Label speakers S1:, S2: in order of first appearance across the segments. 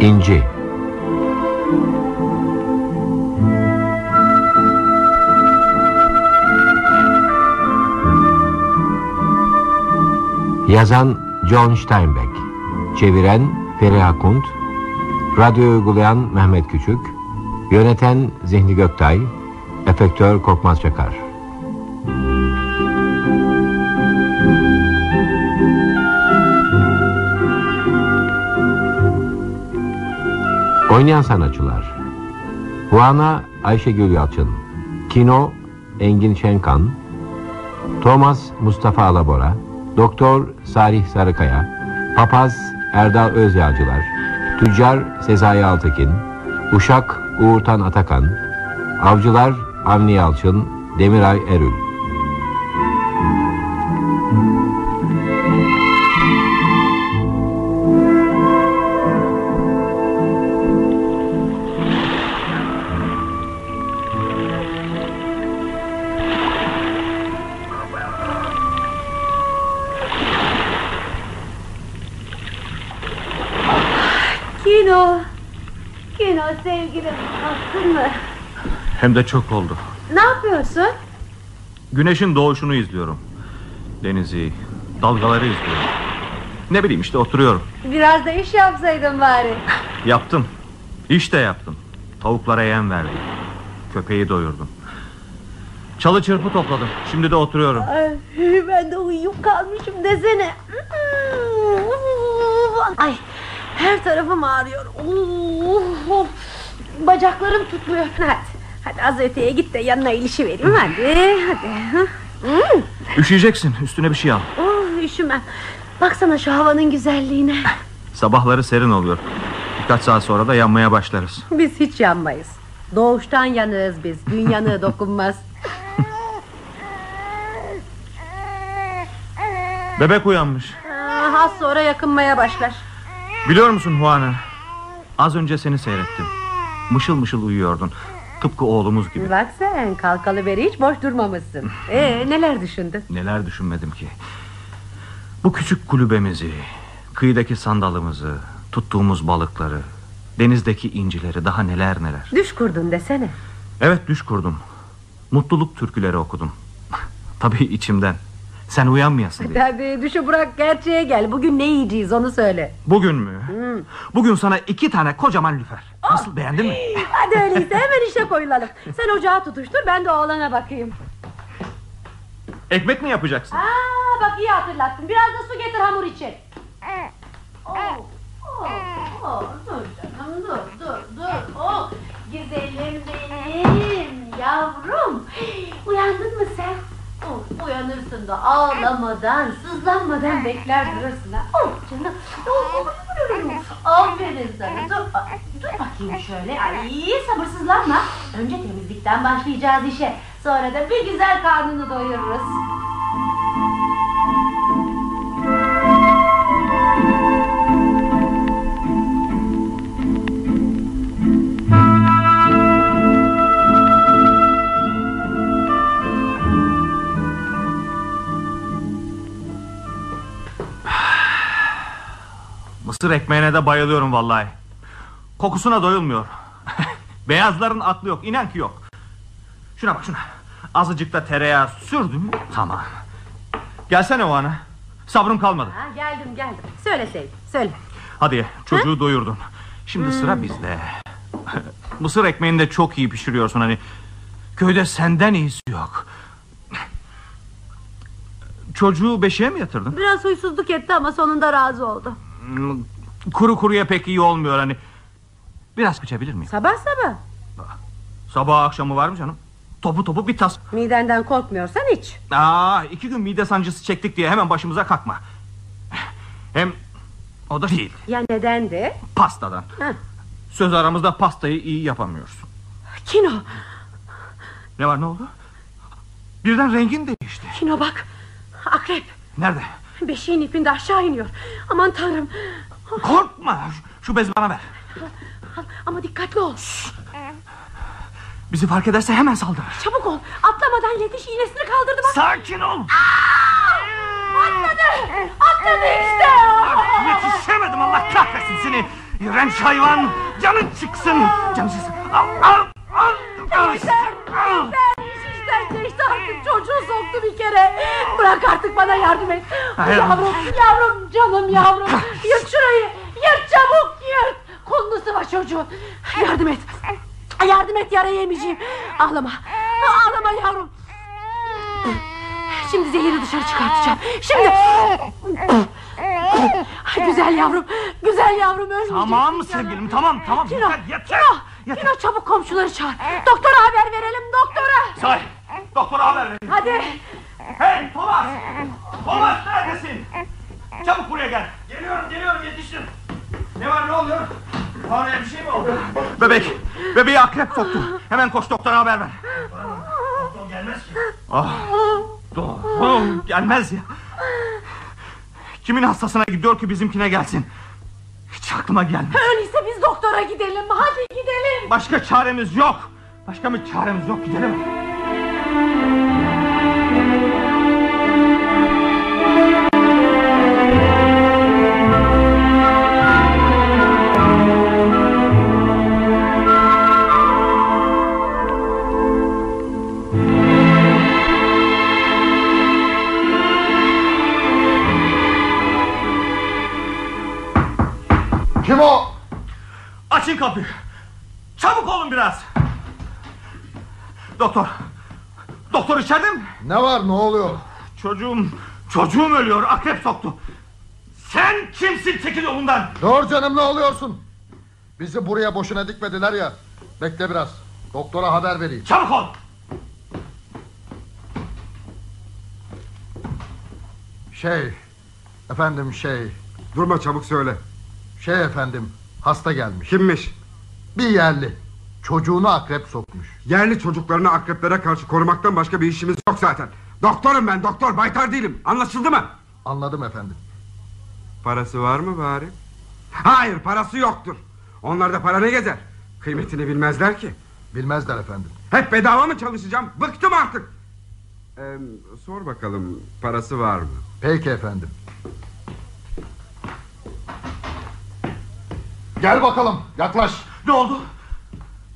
S1: İnci Yazan John Steinbeck Çeviren Feriha Kunt Radyo uygulayan Mehmet Küçük Yöneten Zihni Göktay Efektör Korkmaz Çakar Oynayan sanatçılar Juana Ayşegül Yalçın Kino Engin Şenkan Thomas Mustafa Alabora Doktor Salih Sarıkaya Papaz Erdal Özyağcılar Tüccar Sezai Altekin Uşak Uğurtan Atakan Avcılar Avni Yalçın Demiray Erül
S2: Kino. Kino sevgilim. Kalktın mı?
S3: Hem de çok oldu.
S2: Ne yapıyorsun?
S3: Güneşin doğuşunu izliyorum. Denizi, dalgaları izliyorum. Ne bileyim işte oturuyorum.
S2: Biraz da iş yapsaydın bari.
S3: Yaptım. İş de yaptım. Tavuklara yem verdim. Köpeği doyurdum. Çalı çırpı topladım. Şimdi de oturuyorum.
S2: Ay, ben de uyuyakalmışım desene. Ay, her tarafım ağrıyor. Of, Bacaklarım tutmuyor. Hadi, hadi az öteye git de yanına ilişi vereyim hadi. Hadi. Hmm,
S3: Üşüyeceksin. Üstüne bir şey al.
S2: Oh, üşümem. Baksana şu havanın güzelliğine.
S3: Sabahları serin oluyor. Birkaç saat sonra da yanmaya başlarız.
S4: Biz hiç yanmayız. Doğuştan yanığız biz. Gün yanığı dokunmaz.
S3: Bebek uyanmış.
S4: Aa, Az sonra yakınmaya başlar.
S3: Biliyor musun Juana? Az önce seni seyrettim. Mışıl mışıl uyuyordun. Tıpkı oğlumuz gibi.
S4: Bak sen kalkalı beri hiç boş durmamışsın. Ee, neler düşündün?
S3: Neler düşünmedim ki Bu küçük kulübemizi Kıyıdaki sandalımızı Tuttuğumuz balıkları Denizdeki incileri daha neler neler
S4: Düş kurdun desene.
S3: Evet düş kurdum Mutluluk türküleri okudum Tabii içimden Sen uyanmayasın diye
S4: Tabii düşü bırak gerçeğe gel. Bugün ne yiyeceğiz onu söyle. Hmm.
S3: Bugün mü? Bugün sana iki tane kocaman lüfer Nasıl beğendin mi?
S4: Hadi öyleyse hemen işe koyulalım. Sen ocağı tutuştur ben de oğlana bakayım.
S3: Ekmek mi yapacaksın?
S4: Aa, bak iyi hatırlattın. Biraz da su getir hamur için.
S2: Oh, oh, oh, dur canım, dur, dur, dur. Oh, güzelim benim, yavrum. Uyandın mı sen? Oh, uyanırsın da ağlamadan, sızlanmadan bekler durursun ha. Oh canım, oh, oh, oh, oh, oh. Aferin sana, dur, bak- dur bakayım şöyle. Ay, sabırsızlanma. Önce temizlikten başlayacağız işe. Sonra da bir güzel karnını doyururuz.
S3: Mısır ekmeğine de bayılıyorum vallahi Kokusuna doyulmuyor Beyazların aklı yok inan ki yok Şuna bak şuna Azıcık da tereyağı sürdüm mü, Tamam Gelsene o ana Sabrım kalmadı
S4: Ha, geldim geldim. Söyle Seyit söyle.
S3: Hadi ye, çocuğu doyurdun Şimdi sıra bizde Mısır ekmeğini de çok iyi pişiriyorsun hani Köyde senden iyisi yok Çocuğu beşiğe mi yatırdın?
S4: Biraz huysuzluk etti ama sonunda razı oldu.
S3: Hmm, Kuru kuruya pek iyi olmuyor hani Biraz kaçabilir miyim?
S4: Sabah sabah.
S3: Sabah akşamı var mı canım? Topu topu bir tas.
S4: Midenden korkmuyorsan iç.
S3: Aa, iki gün mide sancısı çektik diye hemen başımıza kalkma. Hem o da değil
S4: Ya neden de?
S3: pastadan.
S4: Heh.
S3: Söz aramızda pastayı iyi yapamıyoruz.
S4: Kino,
S3: Ne var ne oldu? Birden rengin değişti.
S4: Kino bak. Akrep.
S3: Nerede?
S4: Beşiğin ipinde aşağı iniyor. Aman tanrım.
S3: Korkma. Şu, şu bezi bana ver.
S4: Al, Ama dikkatli ol.
S3: Bizi fark ederse hemen saldırır.
S4: Çabuk ol. Atlamadan yetiş iğnesini kaldırdı bak.
S3: Sakin ol.
S4: Atladı. Atladı işte.
S3: Yetişemedim Allah kahretsin seni.
S5: İğrenç hayvan. Canın çıksın. Canın çıksın. Al, al, al. Al, al.
S2: Ben iş işten geçti artık çocuğu soktu bir kere. Bırak artık bana yardım et.
S5: Hayır.
S2: Yavrum, yavrum, canım yavrum. Yırt şurayı, yırt çabuk yırt. Kolunu sıva çocuğu. Yardım et. Yardım et yara yemeyeceğim. Ağlama, ağlama yavrum. Şimdi zehiri dışarı çıkartacağım. Şimdi. Ay, güzel yavrum, güzel yavrum ölmeyecek.
S5: Tamam sevgilim tamam tamam.
S2: Kino,
S5: Yeter yeter.
S2: Kino,
S5: yeter.
S2: Kino çabuk komşuları çağır. Doktora haber verelim doktora.
S5: Say. Doktora haber verin.
S2: Hadi.
S5: Hey Thomas. Thomas neredesin? Çabuk buraya gel. Geliyorum geliyorum yetiştim. Ne var ne oluyor? Oraya bir şey mi oldu? Bebek. Bebeği akrep soktu. Hemen koş doktora haber ver.
S6: Doktor gelmez ki.
S5: Doğru. Oh, Gelmez ya. Kimin hastasına gidiyor ki bizimkine gelsin? Hiç aklıma gelmez.
S2: Öyleyse biz doktora gidelim. Hadi gidelim.
S5: Başka çaremiz yok. Başka bir çaremiz yok gidelim.
S6: Kim o?
S5: Açın kapıyı. Çabuk olun biraz. Doktor. Doktor içeride mi?
S6: Ne var ne oluyor?
S5: Çocuğum, çocuğum ölüyor. Akrep soktu. Sen kimsin çekil yolundan?
S6: Dur canım ne oluyorsun? Bizi buraya boşuna dikmediler ya. Bekle biraz. Doktora haber vereyim.
S5: Çabuk ol.
S6: Şey, efendim şey,
S7: Durma çabuk söyle.
S6: şey efendim. Hasta gelmiş.
S7: Kimmiş?
S6: Bir yerli. Çocuğunu akrep sokmuş.
S7: Yerli çocuklarını akreplere karşı korumaktan başka bir işimiz yok zaten. Doktorum ben doktor baytar değilim. Anlaşıldı mı?
S6: Anladım efendim.
S7: Parası var mı bari? Hayır parası yoktur. Onlarda para ne gezer? Kıymetini bilmezler ki.
S6: Bilmezler efendim.
S7: Hep bedava mı çalışacağım? Bıktım artık. Ee, sor bakalım parası var mı?
S6: Peki efendim. Gel bakalım yaklaş.
S5: Ne oldu?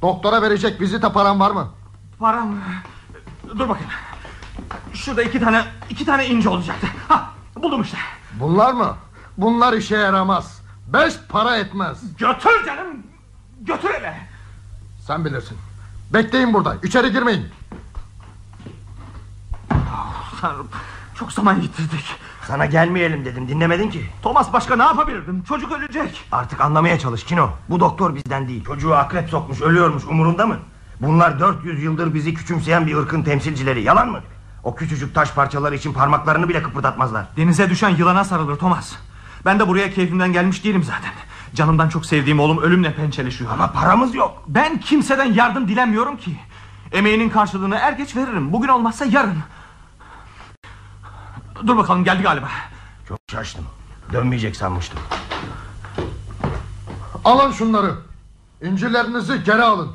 S6: Doktora verecek vizite paran var mı?
S5: Param. Dur bakayım. Şurada iki tane iki tane ince olacaktı. Ha, buldum işte.
S6: Bunlar mı? Bunlar işe yaramaz. Beş para etmez.
S5: Götür canım. Götür hele.
S6: Sen bilirsin. Bekleyin burada. İçeri girmeyin.
S5: Tanrım, çok zaman yitirdik.
S8: Sana gelmeyelim dedim dinlemedin ki
S5: Thomas başka ne yapabilirdim? Çocuk ölecek.
S8: Artık anlamaya çalış Kino Bu doktor bizden değil Çocuğu akrep sokmuş ölüyormuş umurunda mı Bunlar 400 yıldır bizi küçümseyen bir ırkın temsilcileri yalan mı O küçücük taş parçaları için parmaklarını bile kıpırdatmazlar
S5: Denize düşen yılana sarılır Thomas. Ben de buraya keyfimden gelmiş değilim zaten. Canımdan çok sevdiğim oğlum ölümle pençeleşiyor.
S8: Ama paramız yok
S5: Ben kimseden yardım dilemiyorum ki. Emeğinin karşılığını er geç veririm. Bugün olmazsa yarın. Dur bakalım geldi galiba.
S8: Çok şaştım dönmeyecek sanmıştım
S6: Alın şunları. İncirlerinizi geri alın.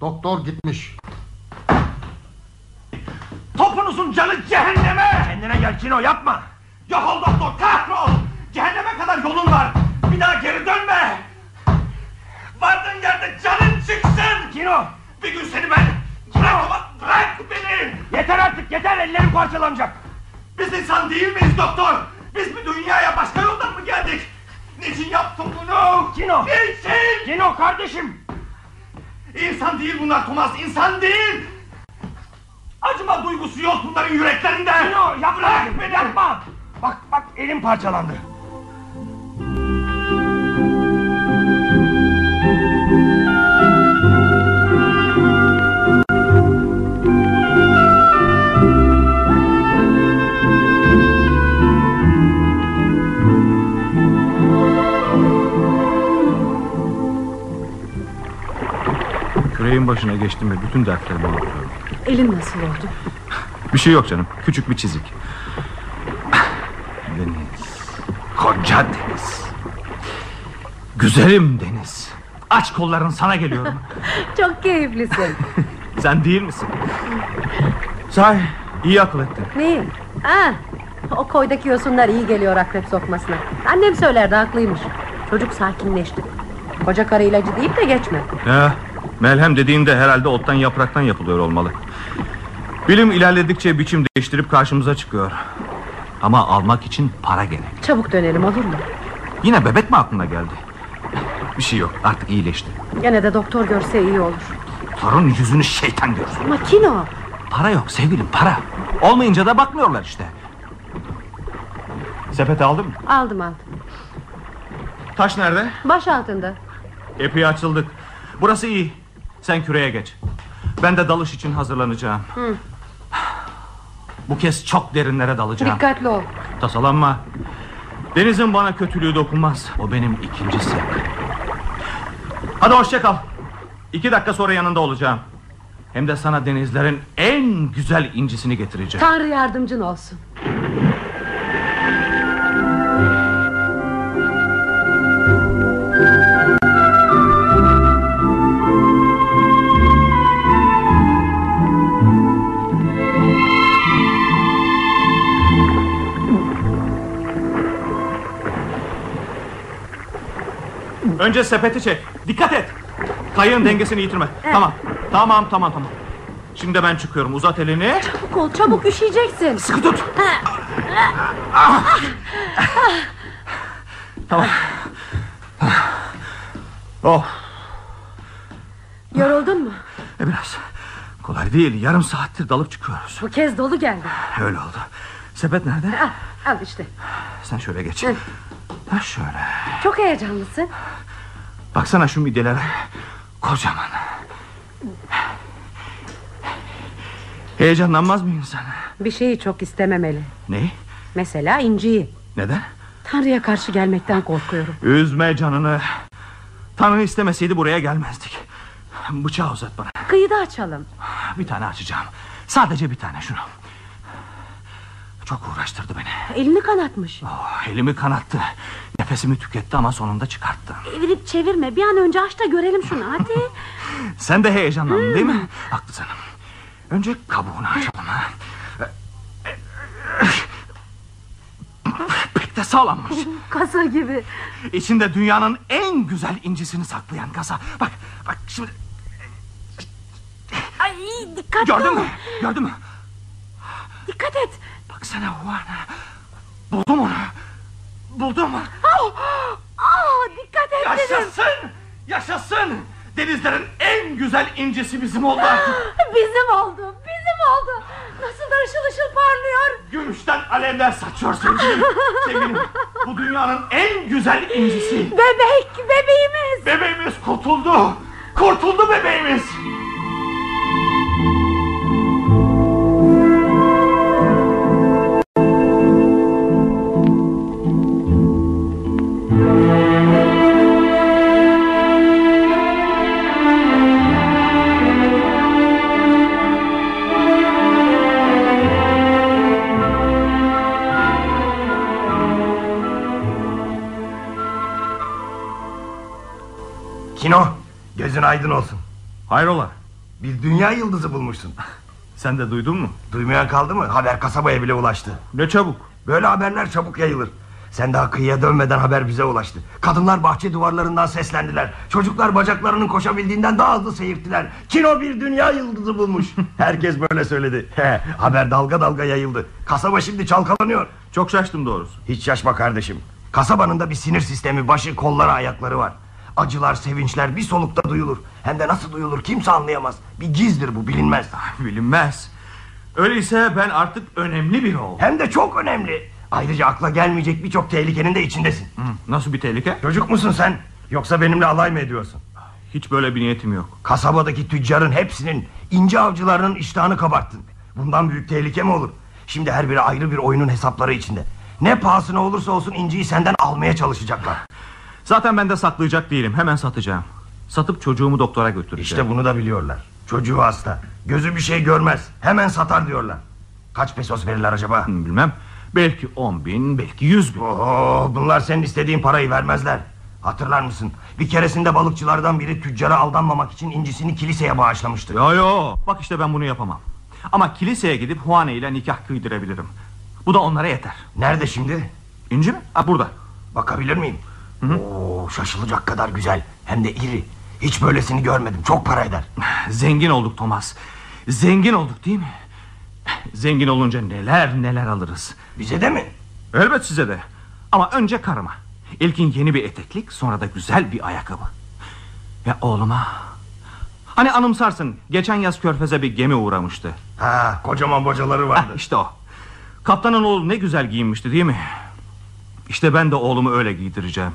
S6: Doktor gitmiş.
S5: Topunuzun canı cehenneme!
S8: Kendine gel Kino yapma
S5: Yok ol doktor kahrol! Cehenneme kadar yolun var. Bir daha geri dönme! Vardığın yerde canın çıksın! Kino! Bir gün seni ben... Bırak, bırak beni!
S8: Yeter artık yeter ellerim parçalanacak
S5: Biz insan değil miyiz doktor? Biz bir dünyaya başka yoldan mı geldik? Niçin yaptın bunu?
S8: Kino!
S5: Niçin?
S8: Kino kardeşim
S5: İnsan değil bunlar Thomas, insan değil! Acıma duygusu yok bunların yüreklerinde!
S8: Kino yapma
S5: Bırak beni!
S8: yapma Bak bak elim parçalandı
S5: Küreğin başına geçtim ve bütün dertlerimi unutuyorum.
S2: Elin nasıl oldu?
S5: Bir şey yok canım, küçük bir çizik. Deniz, koca deniz. Güzelim deniz. Aç kolların sana geliyorum.
S2: Çok keyiflisin.
S5: Sen değil misin? Say, iyi akıl ettin.
S2: Neyi? Ha, o koydaki yosunlar iyi geliyor akrep sokmasına. Annem söylerdi haklıymış. Çocuk sakinleşti. Koca karı ilacı deyip de geçme.
S3: Ya, melhem dediğinde herhalde ottan yapraktan yapılıyor olmalı. Bilim ilerledikçe biçim değiştirip karşımıza çıkıyor. Ama almak için para gerek.
S2: Çabuk dönelim olur mu?
S3: Yine bebek mi aklına geldi? Bir şey yok artık iyileşti.
S2: Gene de doktor görse iyi olur.
S3: Torun yüzünü şeytan görsün.
S2: Makino.
S3: Para yok sevgilim para. Olmayınca da bakmıyorlar işte. Sepeti aldın mı?
S2: Aldım aldım.
S3: Taş nerede?
S2: Baş altında.
S3: Epey açıldık. Burası iyi. Sen küreye geç. Ben de dalış için hazırlanacağım. Bu kez çok derinlere dalacağım.
S2: Dikkatli ol.
S3: Tasalanma. Deniz'in bana kötülüğü dokunmaz. O benim ikinci sevgilim. Hadi hoşça kal. İki dakika sonra yanında olacağım. Hem de sana denizlerin en güzel incisini getireceğim.
S2: Tanrı yardımcın olsun.
S3: Önce sepeti çek. Dikkat et. Kayığın dengesini yitirme. Tamam. Tamam tamam tamam. Şimdi ben çıkıyorum. Uzat elini.
S2: Çabuk ol çabuk üşüyeceksin.
S3: Sıkı tut. Ah! tamam. Ah. Oh
S2: Yoruldun mu?
S3: e biraz. Kolay değil. Yarım saattir dalıp çıkıyoruz.
S2: Bu kez dolu geldi.
S3: Öyle oldu. Sepet nerede?
S2: Al, al işte.
S3: Sen şöyle geç.
S2: Hı.
S3: Ha şöyle.
S2: Çok heyecanlısın.
S3: Baksana şu midelere. Kocaman. Heyecanlanmaz mı insan?
S2: Bir şeyi çok istememeli.
S3: Neyi?
S2: Mesela inciyi.
S3: Neden?
S2: Tanrı'ya karşı gelmekten korkuyorum.
S3: Üzme canını. Tanrı istemeseydi buraya gelmezdik. Bıçağı uzat bana.
S2: Kıyıda açalım.
S3: Bir tane açacağım. Sadece bir tane şunu. Çok uğraştırdı beni.
S2: Elini kanatmış.
S3: Oh, elimi kanattı. Nefesimi tüketti ama sonunda çıkarttı.
S2: Evirip çevirme. Bir an önce aç da görelim şunu hadi.
S3: Sen de heyecanlandın değil
S8: Hmm.
S3: mi? Haklısın. Önce kabuğunu açalım. Ha. Pek de sağlammış.
S2: Kasa gibi.
S3: İçinde dünyanın en güzel incisini saklayan kasa. Bak, bak şimdi
S2: Ay dikkatli
S3: gördün
S2: ol.
S3: mü? Gördün mü?
S2: Dikkat et.
S3: Baksana Juana. Buldum onu. Buldum.
S2: Aa dikkat et dedim.
S3: Yaşasın. Yaşasın. Denizlerin en güzel incisi bizim oldu artık.
S2: Bizim oldu. Bizim oldu. Nasıl da ışıl ışıl parlıyor.
S3: Gümüşten alevler saçıyor sevgilim. sevgilim. Bu dünyanın en güzel incisi.
S2: Bebek bebeğimiz.
S3: Bebeğimiz kurtuldu. Kurtuldu bebeğimiz.
S8: Kino gözün aydın olsun.
S3: Hayrola?
S8: Bir dünya yıldızı bulmuşsun.
S3: Sen de duydun mu?
S8: Duymayan kaldı mı? Haber kasabaya bile ulaştı.
S3: Ne çabuk.
S8: Böyle haberler çabuk yayılır. Sen daha kıyıya dönmeden haber bize ulaştı. Kadınlar bahçe duvarlarından seslendiler. Çocuklar bacaklarının koşabildiğinden daha hızlı seyirttiler. Kino bir dünya yıldızı bulmuş. Herkes böyle söyledi. He, haber dalga dalga yayıldı. Kasaba şimdi çalkalanıyor.
S3: Çok şaştım doğrusu.
S8: Hiç şaşma kardeşim. Kasabanın da bir sinir sistemi, başı, kolları, ayakları var. Acılar, sevinçler bir solukta duyulur. Hem de nasıl duyulur kimse anlayamaz. Bir gizdir bu bilinmez.
S3: Ah, Bilinmez. Öyleyse ben artık önemli biri oldum.
S8: Hem de çok önemli. Ayrıca akla gelmeyecek birçok tehlikenin de içindesin.
S3: Nasıl bir tehlike?
S8: Çocuk musun sen? Yoksa benimle alay mı ediyorsun?
S3: Hiç böyle bir niyetim yok.
S8: Kasabadaki tüccarın hepsinin ince avcılarının iştahını kabarttın. Bundan büyük tehlike mi olur? Şimdi her biri ayrı bir oyunun hesapları içinde. Ne pahasına olursa olsun inciyi senden almaya çalışacaklar.
S3: Zaten ben de saklayacak değilim. Hemen satacağım. Satıp çocuğumu doktora
S8: İşte
S3: götüreceğim.
S8: bunu da biliyorlar. Çocuğu hasta. Gözü bir şey görmez. Hemen satar diyorlar. Kaç pesos verirler acaba?
S3: bu. Hmm, Bilmem. Belki on bin, belki yüz bin.
S8: Oho, bunlar senin istediğin parayı vermezler. Hatırlar mısın? Bir keresinde balıkçılardan biri tüccara aldanmamak için incisini kiliseye bağışlamıştı.
S3: Yo yo. Bak işte ben bunu yapamam. Ama kiliseye gidip Huane ile nikah kıydırabilirim. Bu da onlara yeter.
S8: Nerede şimdi?
S3: İnci mi? Ha, burada.
S8: Bakabilir miyim? Oo, şaşılacak kadar güzel. Hem de iri. Hiç böylesini görmedim. Çok para eder.
S3: Zengin olduk Thomas. Zengin olduk değil mi? Zengin olunca neler neler alırız.
S8: Bize de mi?
S3: Elbet size de. Ama önce karıma. İlkin yeni bir eteklik sonra da güzel bir ayakkabı. Ve oğluma. Hani anımsarsın geçen yaz körfeze bir gemi uğramıştı.
S8: Ha, kocaman bacaları vardı.
S3: Heh, işte o. Kaptanın oğlu ne güzel giyinmişti değil mi? İşte ben de oğlumu öyle giydireceğim.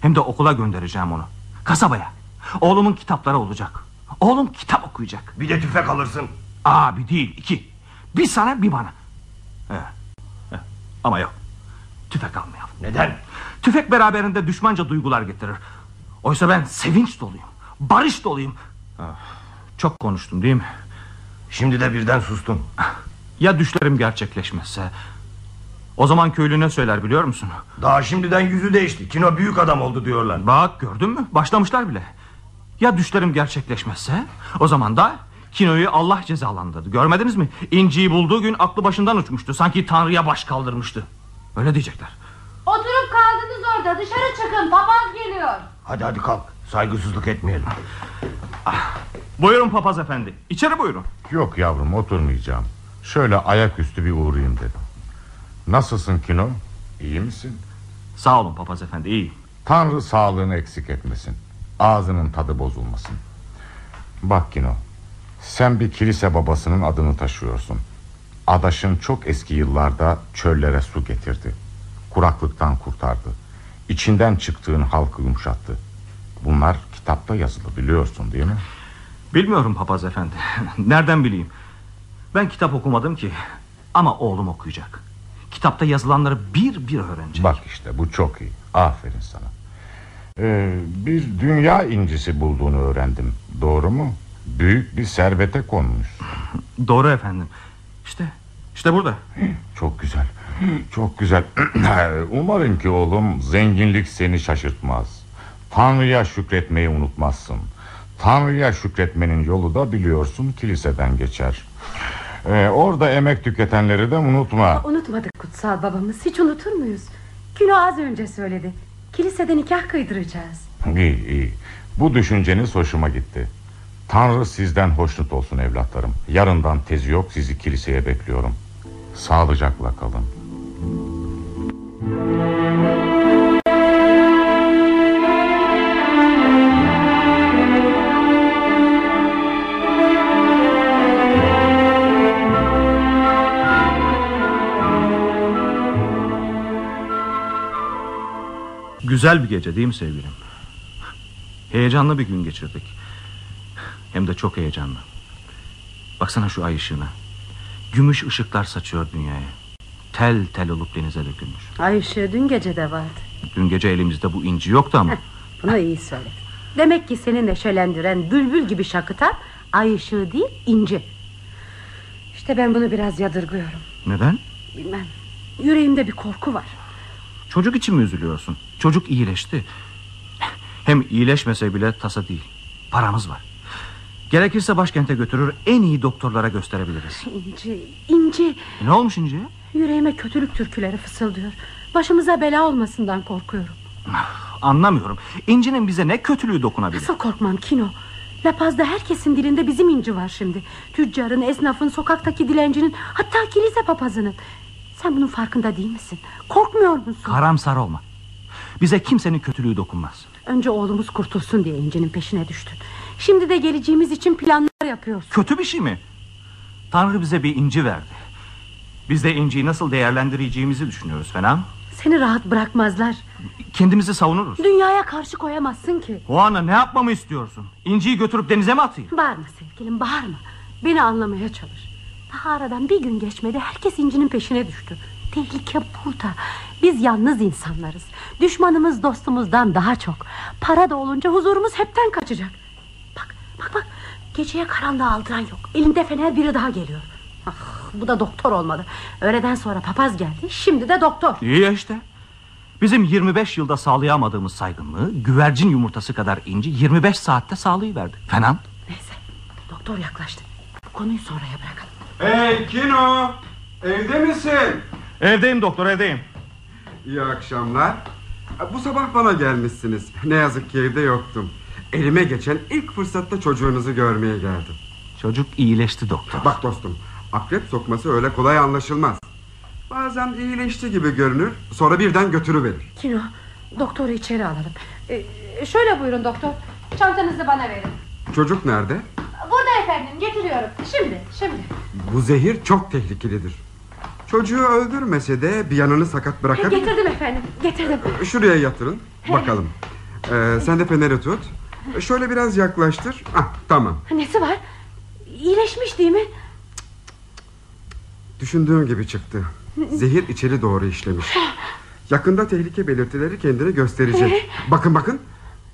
S3: Hem de okula göndereceğim onu. Kasabaya. Oğlumun kitapları olacak. Oğlum kitap okuyacak.
S8: Bir de tüfek alırsın.
S3: Abi değil iki. Bir sana bir bana. He. He. Ama yok. Tüfek almayalım.
S8: Neden?
S3: Tüfek beraberinde düşmanca duygular getirir. Oysa ben sevinç doluyum. Barış doluyum. Ah, Çok konuştum değil mi?
S8: Şimdi de birden sustun.
S3: Ya düşlerim gerçekleşmezse? O zaman köylü ne söyler biliyor musun?
S8: Daha şimdiden yüzü değişti. Kino büyük adam oldu diyorlar.
S3: Bak gördün mü? Başlamışlar bile. Ya düşlerim gerçekleşmezse? O zaman da Kino'yu Allah cezalandırdı. Görmediniz mi? İnci'yi bulduğu gün aklı başından uçmuştu. Sanki Tanrı'ya baş kaldırmıştı. Öyle diyecekler.
S2: Oturup kaldınız orada dışarı çıkın papaz geliyor.
S8: Hadi hadi kalk. Saygısızlık etmeyelim.
S3: Buyurun papaz efendi. İçeri buyurun.
S9: Yok yavrum oturmayacağım. Şöyle ayaküstü bir uğrayayım dedim. Nasılsın Kino? İyi misin?
S3: Sağ olun papaz efendi. İyi.
S9: Tanrı sağlığını eksik etmesin. Ağzının tadı bozulmasın. Bak Kino. Sen bir kilise babasının adını taşıyorsun. Adaşın çok eski yıllarda çöllere su getirdi. Kuraklıktan kurtardı. İçinden çıktığın halkı yumuşattı. Bunlar kitapta yazılı biliyorsun değil mi?
S3: Bilmiyorum papaz efendi. Nereden bileyim? Ben kitap okumadım ki. Ama oğlum okuyacak. Kitapta yazılanları bir bir öğrenecek.
S9: Bak işte bu çok iyi. Aferin sana. Ee, bir dünya incisi bulduğunu öğrendim. Doğru mu? Büyük bir servete konmuş.
S3: Doğru efendim. İşte, işte burada.
S9: Çok güzel. Çok güzel. Umarım ki oğlum zenginlik seni şaşırtmaz. Tanrı'ya şükretmeyi unutmazsın. Tanrı'ya şükretmenin yolu da biliyorsun kiliseden geçer. Ee, orada emek tüketenleri de unutma.
S2: Unutmadık kutsal babamız hiç unutur muyuz? Kino az önce söyledi. Kilisede nikah kıydıracağız.
S9: İyi iyi. Bu düşünceniz hoşuma gitti. Tanrı sizden hoşnut olsun evlatlarım. Yarından tezi yok sizi kiliseye bekliyorum. Sağlıcakla kalın.
S3: Güzel bir gece değil mi sevgilim? Heyecanlı bir gün geçirdik. Hem de çok heyecanlı. Baksana şu ay ışığına. Gümüş ışıklar saçıyor dünyaya. Tel tel olup denize dökülmüş.
S4: Ay ışığı dün gece de vardı.
S3: Dün gece elimizde bu inci yoktu ama.
S4: Bunu iyi söyledin. Demek ki seni neşelendiren bülbül gibi şakıtan ay ışığı değil inci. İşte ben bunu biraz yadırgıyorum.
S3: Neden?
S4: Bilmem. Yüreğimde bir korku var.
S3: Çocuk için mi üzülüyorsun? Çocuk iyileşti. Hem iyileşmese bile tasa değil. Paramız var. Gerekirse başkente götürür en iyi doktorlara gösterebiliriz. E,
S4: İnci, inci.
S3: Ne olmuş inciye?
S4: Yüreğime kötülük türküleri fısıldıyor. Başımıza bela olmasından korkuyorum.
S3: Anlamıyorum. İncinin bize ne kötülüğü dokunabilir?
S4: Nasıl korkmam Kino? La Paz'da herkesin dilinde bizim inci var şimdi. Tüccarın, esnafın, sokaktaki dilencinin, hatta kilise papazının. Sen bunun farkında değil misin? Korkmuyor musun?
S3: Karamsar olma. Bize kimsenin kötülüğü dokunmaz.
S4: Önce oğlumuz kurtulsun diye incinin peşine düştün. Şimdi de geleceğimiz için planlar yapıyorsun.
S3: Kötü bir şey mi? Tanrı bize bir inci verdi. Biz de inciyi nasıl değerlendireceğimizi düşünüyoruz fena mı?
S4: Seni rahat bırakmazlar.
S3: Kendimizi savunuruz.
S4: Dünyaya karşı koyamazsın ki.
S3: O ana ne yapmamı istiyorsun? İnciyi götürüp denize mi atayım?
S4: Bağırma sevgilim bağırma. Beni anlamaya çalış. Daha aradan bir gün geçmedi herkes incinin peşine düştü. Tehlike burada. Biz yalnız insanlarız. Düşmanımız dostumuzdan daha çok. Para da olunca huzurumuz hepten kaçacak. Bak bak bak. Geceye karanlığa aldıran yok. Elinde fener biri daha geliyor. Ah bu da doktor olmalı. Öğleden sonra papaz geldi. Şimdi de doktor.
S3: İyi ya işte. Bizim 25 yılda sağlayamadığımız saygınlığı güvercin yumurtası kadar inci 25 saatte sağlayıverdi. Fena mı?
S4: Neyse doktor yaklaştı. Bu konuyu sonraya bırakalım.
S7: Hey Kino! Evde misin?
S3: Evdeyim doktor evdeyim.
S7: İyi akşamlar. Bu sabah bana gelmişsiniz. Ne yazık ki evde yoktum. Elime geçen ilk fırsatta çocuğunuzu görmeye geldim.
S5: Çocuk iyileşti doktor.
S7: Bak dostum, akrep sokması öyle kolay anlaşılmaz. Bazen iyileşti gibi görünür, sonra birden götürüverir.
S4: Kino doktoru içeri alalım. Ee, şöyle buyurun doktor. Çantanızı bana verin.
S7: Çocuk nerede?
S4: Burada efendim getiriyorum. Şimdi şimdi.
S7: Bu zehir çok tehlikelidir. Çocuğu öldürmese de bir yanını sakat bırakabilir.
S4: Getirdim efendim getirdim.
S7: Şuraya yatırın, bakalım. Ee, sen de feneri tut. Şöyle biraz yaklaştır. Ah, tamam.
S4: Nesi var? İyileşmiş değil mi?
S7: Düşündüğüm gibi çıktı. Zehir içeri doğru işlemiş. Yakında tehlike belirtileri kendini gösterecek. Bakın bakın.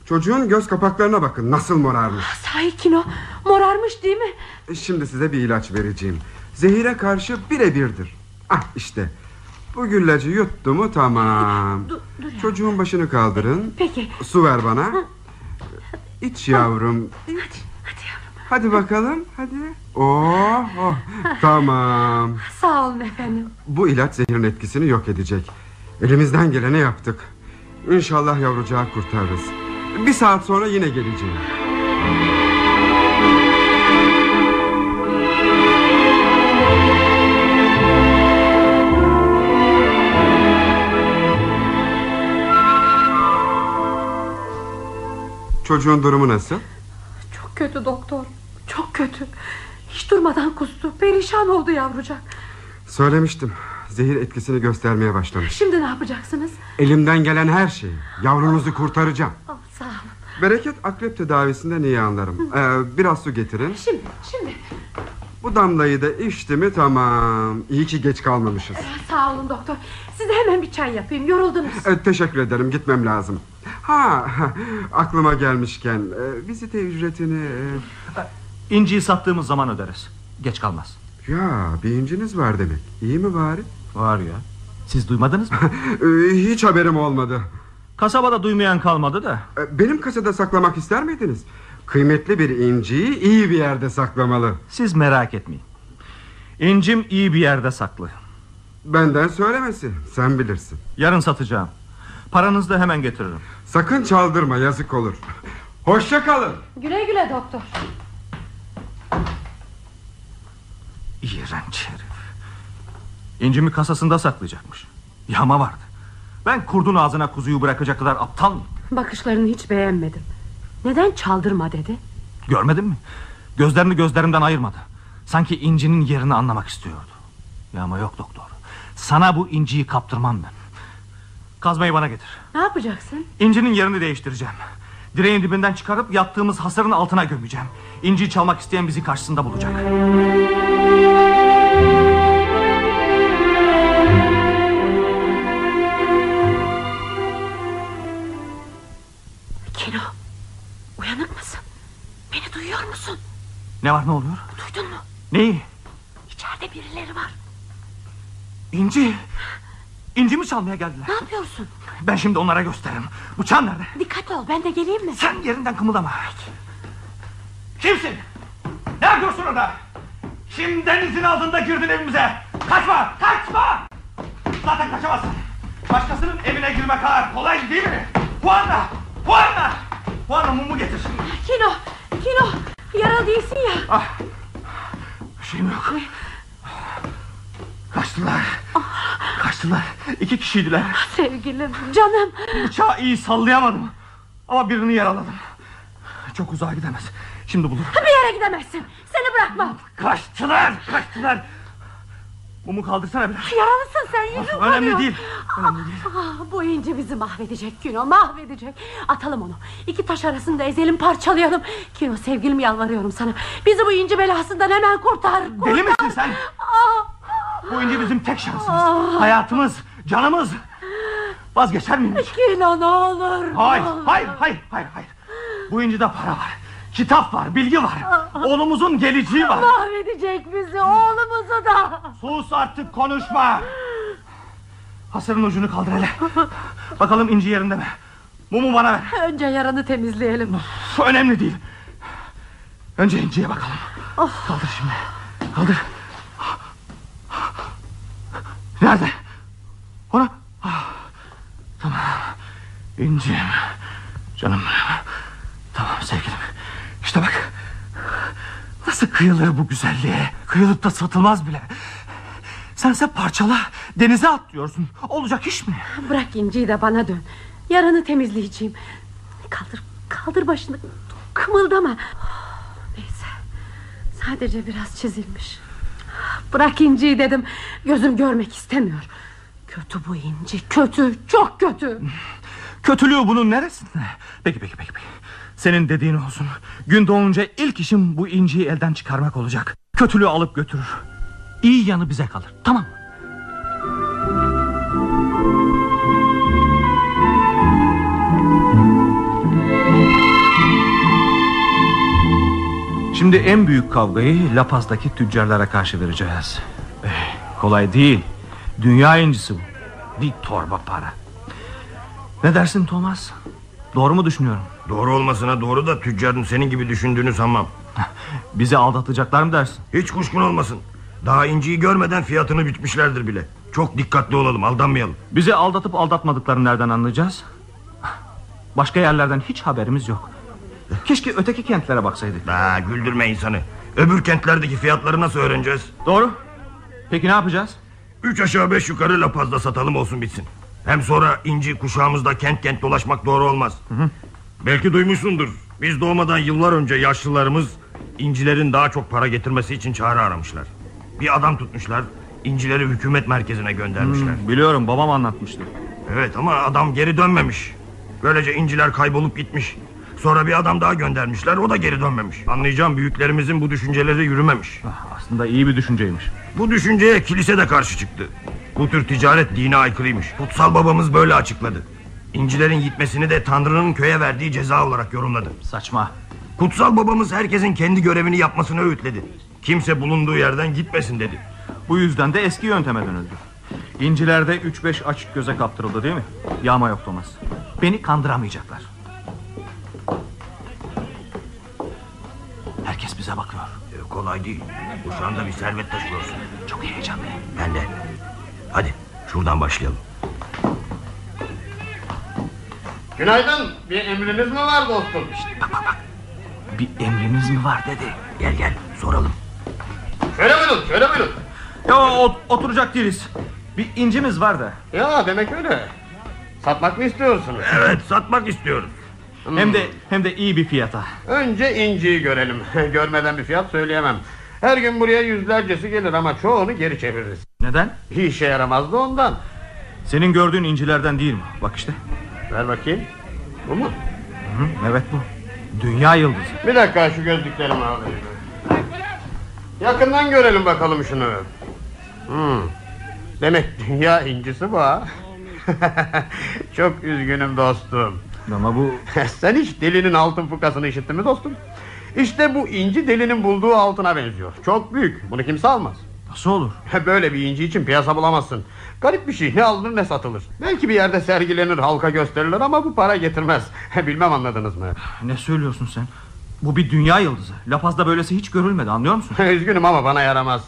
S7: Çocuğun göz kapaklarına bakın nasıl morarmış. E,
S4: Sahi Kino morarmış değil mi?
S7: Şimdi size bir ilaç vereceğim. Zehire karşı birebirdir. Ah işte. Bu güllacı yuttu mu tamam. Çocuğun başını kaldırın.
S4: Peki
S7: Su ver bana. İç yavrum. iç. Hadi bakalım hadi. Oh, oh. tamam.
S4: sağ olun efendim.
S7: Bu ilaç zehrin etkisini yok edecek. Elimizden geleni yaptık. İnşallah yavrucağı kurtarırız. Bir saat sonra yine geleceğim. Çocuğun durumu nasıl?
S4: Çok kötü doktor çok kötü. Hiç durmadan kustu perişan oldu yavrucak.
S7: Söylemiştim. Zehir etkisini göstermeye başlamış.
S4: Şimdi ne yapacaksınız?
S7: Elimden gelen her şeyi. Yavrunuzu kurtaracağım.
S4: Ah, sağ olun.
S7: Bereket akrep tedavisinde iyi anlarım. Ee, biraz su getirin.
S4: Şimdi şimdi
S7: Bu damlayı da içti mi tamam. İyi ki geç kalmamışız.
S4: sağ olun doktor. Size hemen bir çay yapayım yoruldunuz.
S7: Evet, Ee, teşekkür ederim gitmem lazım. Ha aklıma gelmişken e, vizite ücretini... e,
S5: İnciyi sattığımız zaman öderiz. Geç kalmaz.
S7: Ya bir inciniz var demek. İyi mi bari?
S5: Var ya. Siz duymadınız mı?
S7: E, hiç haberim olmadı.
S5: Kasabada duymayan kalmadı da.
S7: E, benim kasada saklamak ister miydiniz? Kıymetli bir inciyi iyi bir yerde saklamalı.
S5: Siz merak etmeyin. İncim iyi bir yerde saklı.
S7: Benden söylemesi sen bilirsin.
S5: Yarın satacağım. Paranızı da hemen getiririm.
S7: Sakın çaldırma yazık olur. Hoşça kalın.
S4: Güle güle doktor.
S5: İğrenç herif. İncimi kasasında saklayacakmış. Yama vardı. Ben kurdun ağzına kuzuyu bırakacak kadar aptal mıyım?
S10: Bakışlarını hiç beğenmedim. Neden çaldırma dedi?
S5: Görmedin mi? Gözlerini gözlerimden ayırmadı. Sanki incinin yerini anlamak istiyordu. Ya ama yok doktor. Sana bu inciyi kaptırmam ben. Kazmayı bana getir.
S10: Ne yapacaksın?
S5: İncinin yerini değiştireceğim. Direğin dibinden çıkarıp yattığımız hasırın altına gömeceğim. İnciyi çalmak isteyen bizi karşısında bulacak.
S4: Kino uyanık mısın? Beni duyuyor musun?
S5: Ne var ne oluyor?
S4: Duydun mu?
S5: Neyi?
S4: İçeride birileri var.
S5: İnci. İnci mi çalmaya geldiler?
S4: Ne yapıyorsun?
S5: Ben şimdi onlara gösteririm. Bıçağın nerede?
S4: Dikkatli ol ben de geleyim mi?
S5: Sen yerinden kımıldama. Kimsin? Ne yapıyorsun orada? Kimden izin altında girdin evimize? Kaçma! Kaçma! Zaten kaçamazsın. Başkasının evine girmek ağır. Kolay değil mi? Puanla! Puanla! Puanla mumu getir.
S4: Kino Kino yaralı değilsin ya.
S5: Ah! Bir şeyim yok. Kaçtılar. Kaçtılar. İki kişiydiler.
S4: Sevgilim canım.
S5: Bıçağı iyi sallayamadım. Ama birini yaraladım. Çok uzağa gidemez. Şimdi bulurum.
S4: Bir yere gidemezsin. Seni bırakmam.
S5: Kaçtılar, kaçtılar. Mumu kaldırsana biraz.
S4: Yaralısın sen yüzün
S5: Ah, Önemli
S4: kanıyor.
S5: değil. Önemli değil.
S4: Ah, bu inci bizi mahvedecek Kino mahvedecek. Atalım onu. İki taş arasında ezelim parçalayalım. Kino sevgilim yalvarıyorum sana. Bizi bu inci belasından hemen kurtar. kurtar.
S5: Deli misin sen?
S4: Ah,
S5: Bu ince bizim tek şansımız. Hayatımız, canımız. Vazgeçer miyim? hiç?
S4: Kino ne olur.
S5: Hayır, hayır, hayır, hayır, hayır. Bu incide para var. Kitap var, bilgi var.
S4: Ah.
S5: Oğlumuzun geleceği var.
S4: Mahvedecek bizi oğlumuzu da.
S5: Sus artık konuşma. Hasırın ucunu kaldır hele. Bakalım inci yerinde mi? Mumu bana ver.
S4: Önce yaranı temizleyelim.
S5: Önemli değil. Önce inciye bakalım. Kaldır şimdi. Kaldır. Nerede? Ona. Ah, Tamam.
S3: İncim. Canım. Tamam sevgilim. İşte bak. Nasıl kıyılır bu güzelliğe? Kıyılıp da satılmaz bile. Sense parçala, denize at diyorsun. Olacak iş mi?
S4: Bırak inciyi de bana dön. Yaranı temizleyeceğim. Kaldır, kaldır başını. Kımıldama. Neyse. Sadece biraz çizilmiş. Bırak inciyi dedim. Gözüm görmek istemiyor. Kötü bu inci. Kötü, çok kötü.
S3: Kötülüğü bunun neresinde? Peki peki peki. peki. Senin dediğin olsun. Gün doğunca ilk işim bu inciyi elden çıkarmak olacak. Kötülüğü alıp götürür. İyi yanı bize kalır. Tamam mı? Şimdi en büyük kavgayı La Paz'daki tüccarlara karşı vereceğiz. Eh, kolay değil. Dünya incisi bu. Bir torba para. Ne dersin Thomas? Doğru mu düşünüyorum?
S8: Doğru olmasına doğru da tüccarın senin gibi düşündüğünü sanmam.
S3: Bizi aldatacaklar mı dersin?
S8: Hiç kuşkun olmasın. Daha inciyi görmeden fiyatını bitmişlerdir bile. Çok dikkatli olalım aldanmayalım.
S3: Bizi aldatıp aldatmadıklarını nereden anlayacağız? Başka yerlerden hiç haberimiz yok. Keşke öteki kentlere baksaydık.
S8: Ha, güldürme insanı. Öbür kentlerdeki fiyatları nasıl öğreneceğiz?
S3: Doğru. Peki ne yapacağız?
S8: Üç aşağı beş yukarı La Paz'da satalım olsun bitsin. Hem sonra inci kuşağımızda kent kent dolaşmak doğru olmaz. Belki duymuşsundur. Biz doğmadan yıllar önce yaşlılarımız incilerin daha çok para getirmesi için çare aramışlar. Bir adam tutmuşlar, incileri hükümet merkezine göndermişler.
S3: Hmm, Biliyorum babam anlatmıştı.
S8: Evet ama adam geri dönmemiş. Böylece inciler kaybolup gitmiş. Sonra bir adam daha göndermişler, o da geri dönmemiş. Anlayacağım büyüklerimizin bu düşünceleri yürümemiş.
S3: Ah, Aslında iyi bir düşünceymiş.
S8: Bu düşünceye kilise de karşı çıktı. Bu tür ticaret dine aykırıymış. Kutsal babamız böyle açıkladı. İncilerin gitmesini de Tanrı'nın köye verdiği ceza olarak yorumladı.
S3: Saçma.
S8: Kutsal babamız herkesin kendi görevini yapmasını öğütledi. Kimse bulunduğu yerden gitmesin dedi.
S3: Bu yüzden de eski yönteme dönüldü. İncilerde 3-5 açık göze kaptırıldı değil mi? Yağma yok Thomas. Beni kandıramayacaklar. Herkes bize bakıyor.
S8: Ee, kolay değil. Kuşağında bir servet taşıyorsun.
S3: Çok heyecanlıyım.
S8: Ben de. Hadi şuradan başlayalım.
S11: Günaydın. Bir emriniz mi var dostum?
S3: Bir emriniz mi var dedi.
S8: Gel gel soralım.
S11: Şöyle buyurun, şöyle buyurun.
S3: Ya o- oturacak değiliz. Bir incimiz var da.
S11: Ya demek öyle. Satmak mı istiyorsunuz? Hmm.
S8: Evet satmak istiyoruz.
S3: Hem de hem de iyi bir fiyata.
S11: Önce inciyi görelim. Görmeden bir fiyat söyleyemem. Her gün buraya yüzlercesi gelir ama çoğunu geri çeviririz.
S3: Neden?
S11: İşe yaramaz da ondan.
S3: Senin gördüğün incilerden değil mi? Bak işte.
S11: Ver bakayım. Bu mu?
S3: Hı, evet bu. Dünya yıldızı.
S11: Bir dakika şu gözlüklerimi alayım. Yakından görelim bakalım şunu. Hmm. Demek dünya incisi bu ha. Çok üzgünüm dostum.
S3: Ama bu
S11: Sen hiç delinin altın fukasını işittin mi dostum? İşte bu inci delinin bulduğu altına benziyor. Çok büyük. Bunu kimse almaz.
S3: nasıl olur?
S11: Böyle bir inci için piyasa bulamazsın. Garip bir şey. Ne alınır ne satılır. Belki bir yerde sergilenir, halka gösterilir ama bu para getirmez. Bilmem anladınız mı?
S3: Ne söylüyorsun sen? Bu bir dünya yıldızı. La Paz'da böylesi hiç görülmedi anlıyor musun?
S11: Üzgünüm ama bana yaramaz.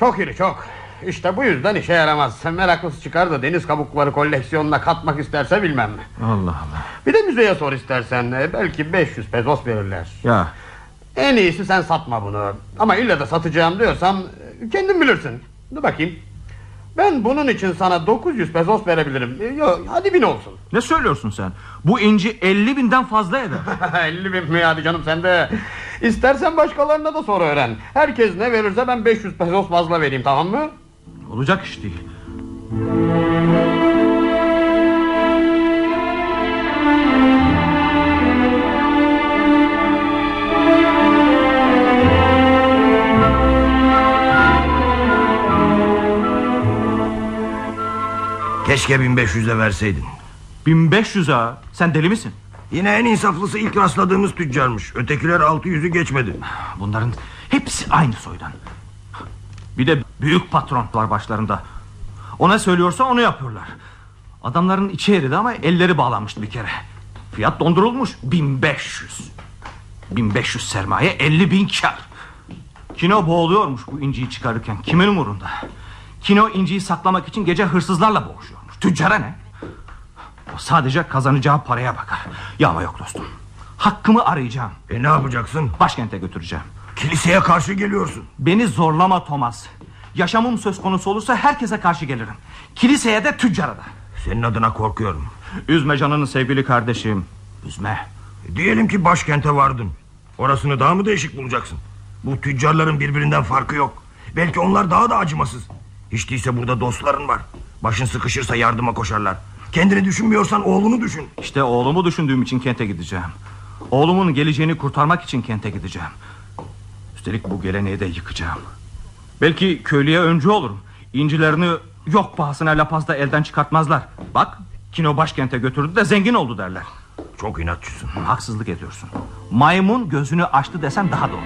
S11: Çok iri çok. İşte bu yüzden işe yaramaz. Meraklısı çıkar da deniz kabukları koleksiyonuna katmak isterse bilmem.
S3: Allah Allah.
S11: Bir de müzeye sor istersen. Belki 500 pezos verirler.
S3: Ya
S11: En iyisi sen satma bunu. Ama illa da satacağım diyorsam e, kendin bilirsin. Dur bakayım. Ben bunun için sana 900 pezos verebilirim. Yok, hadi bin olsun.
S3: ne söylüyorsun sen? Bu inci 50 binden fazla eder.
S11: 50 bin mi hadi canım sen de. İstersen başkalarına da sor öğren. Herkes ne verirse ben 500 pezos fazla vereyim tamam mı?
S3: Olacak iş değil.
S8: Keşke 1500'e verseydin.
S3: 1500 ha. Sen deli misin?
S8: Yine en insaflısı ilk rastladığımız tüccarmış. Ötekiler 600'ü geçmedi.
S3: Bunların hepsi aynı soydan. Bir de büyük patron var başlarında. Ona söylüyorsa onu yapıyorlar. Adamların içi eridi ama elleri bağlanmıştı bir kere. Fiyat dondurulmuş 1500. 1500 sermaye 50 bin kar. Kino boğuluyormuş bu inciyi çıkarırken kimin umurunda? Kino inciyi saklamak için gece hırsızlarla boğuşuyormuş. Tüccara ne? Sadece kazanacağı paraya bakar. Yağma yok dostum. Hakkımı arayacağım.
S8: E ne yapacaksın?
S3: Başkente götüreceğim.
S8: Kiliseye karşı geliyorsun.
S3: Beni zorlama Thomas. Yaşamım söz konusu olursa herkese karşı gelirim. Kiliseye de tüccara da.
S8: Senin adına korkuyorum.
S3: Üzme canını sevgili kardeşim. Üzme.
S8: E, diyelim ki başkente vardın. Orasını daha mı değişik bulacaksın? Bu tüccarların birbirinden farkı yok. Belki onlar daha da acımasız. Hiç değilse burada dostların var. Başın sıkışırsa yardıma koşarlar. Kendini düşünmüyorsan oğlunu düşün.
S3: İşte oğlumu düşündüğüm için kente gideceğim. Oğlumun geleceğini kurtarmak için kente gideceğim. Üstelik bu geleneği de yıkacağım. Belki köylüye öncü olurum. İncilerini yok pahasına lapazda elden çıkartmazlar. Bak Kino başkente götürdü de zengin oldu derler.
S8: Çok inatçısın.
S3: Haksızlık ediyorsun. Maymun gözünü açtı desem daha doğru.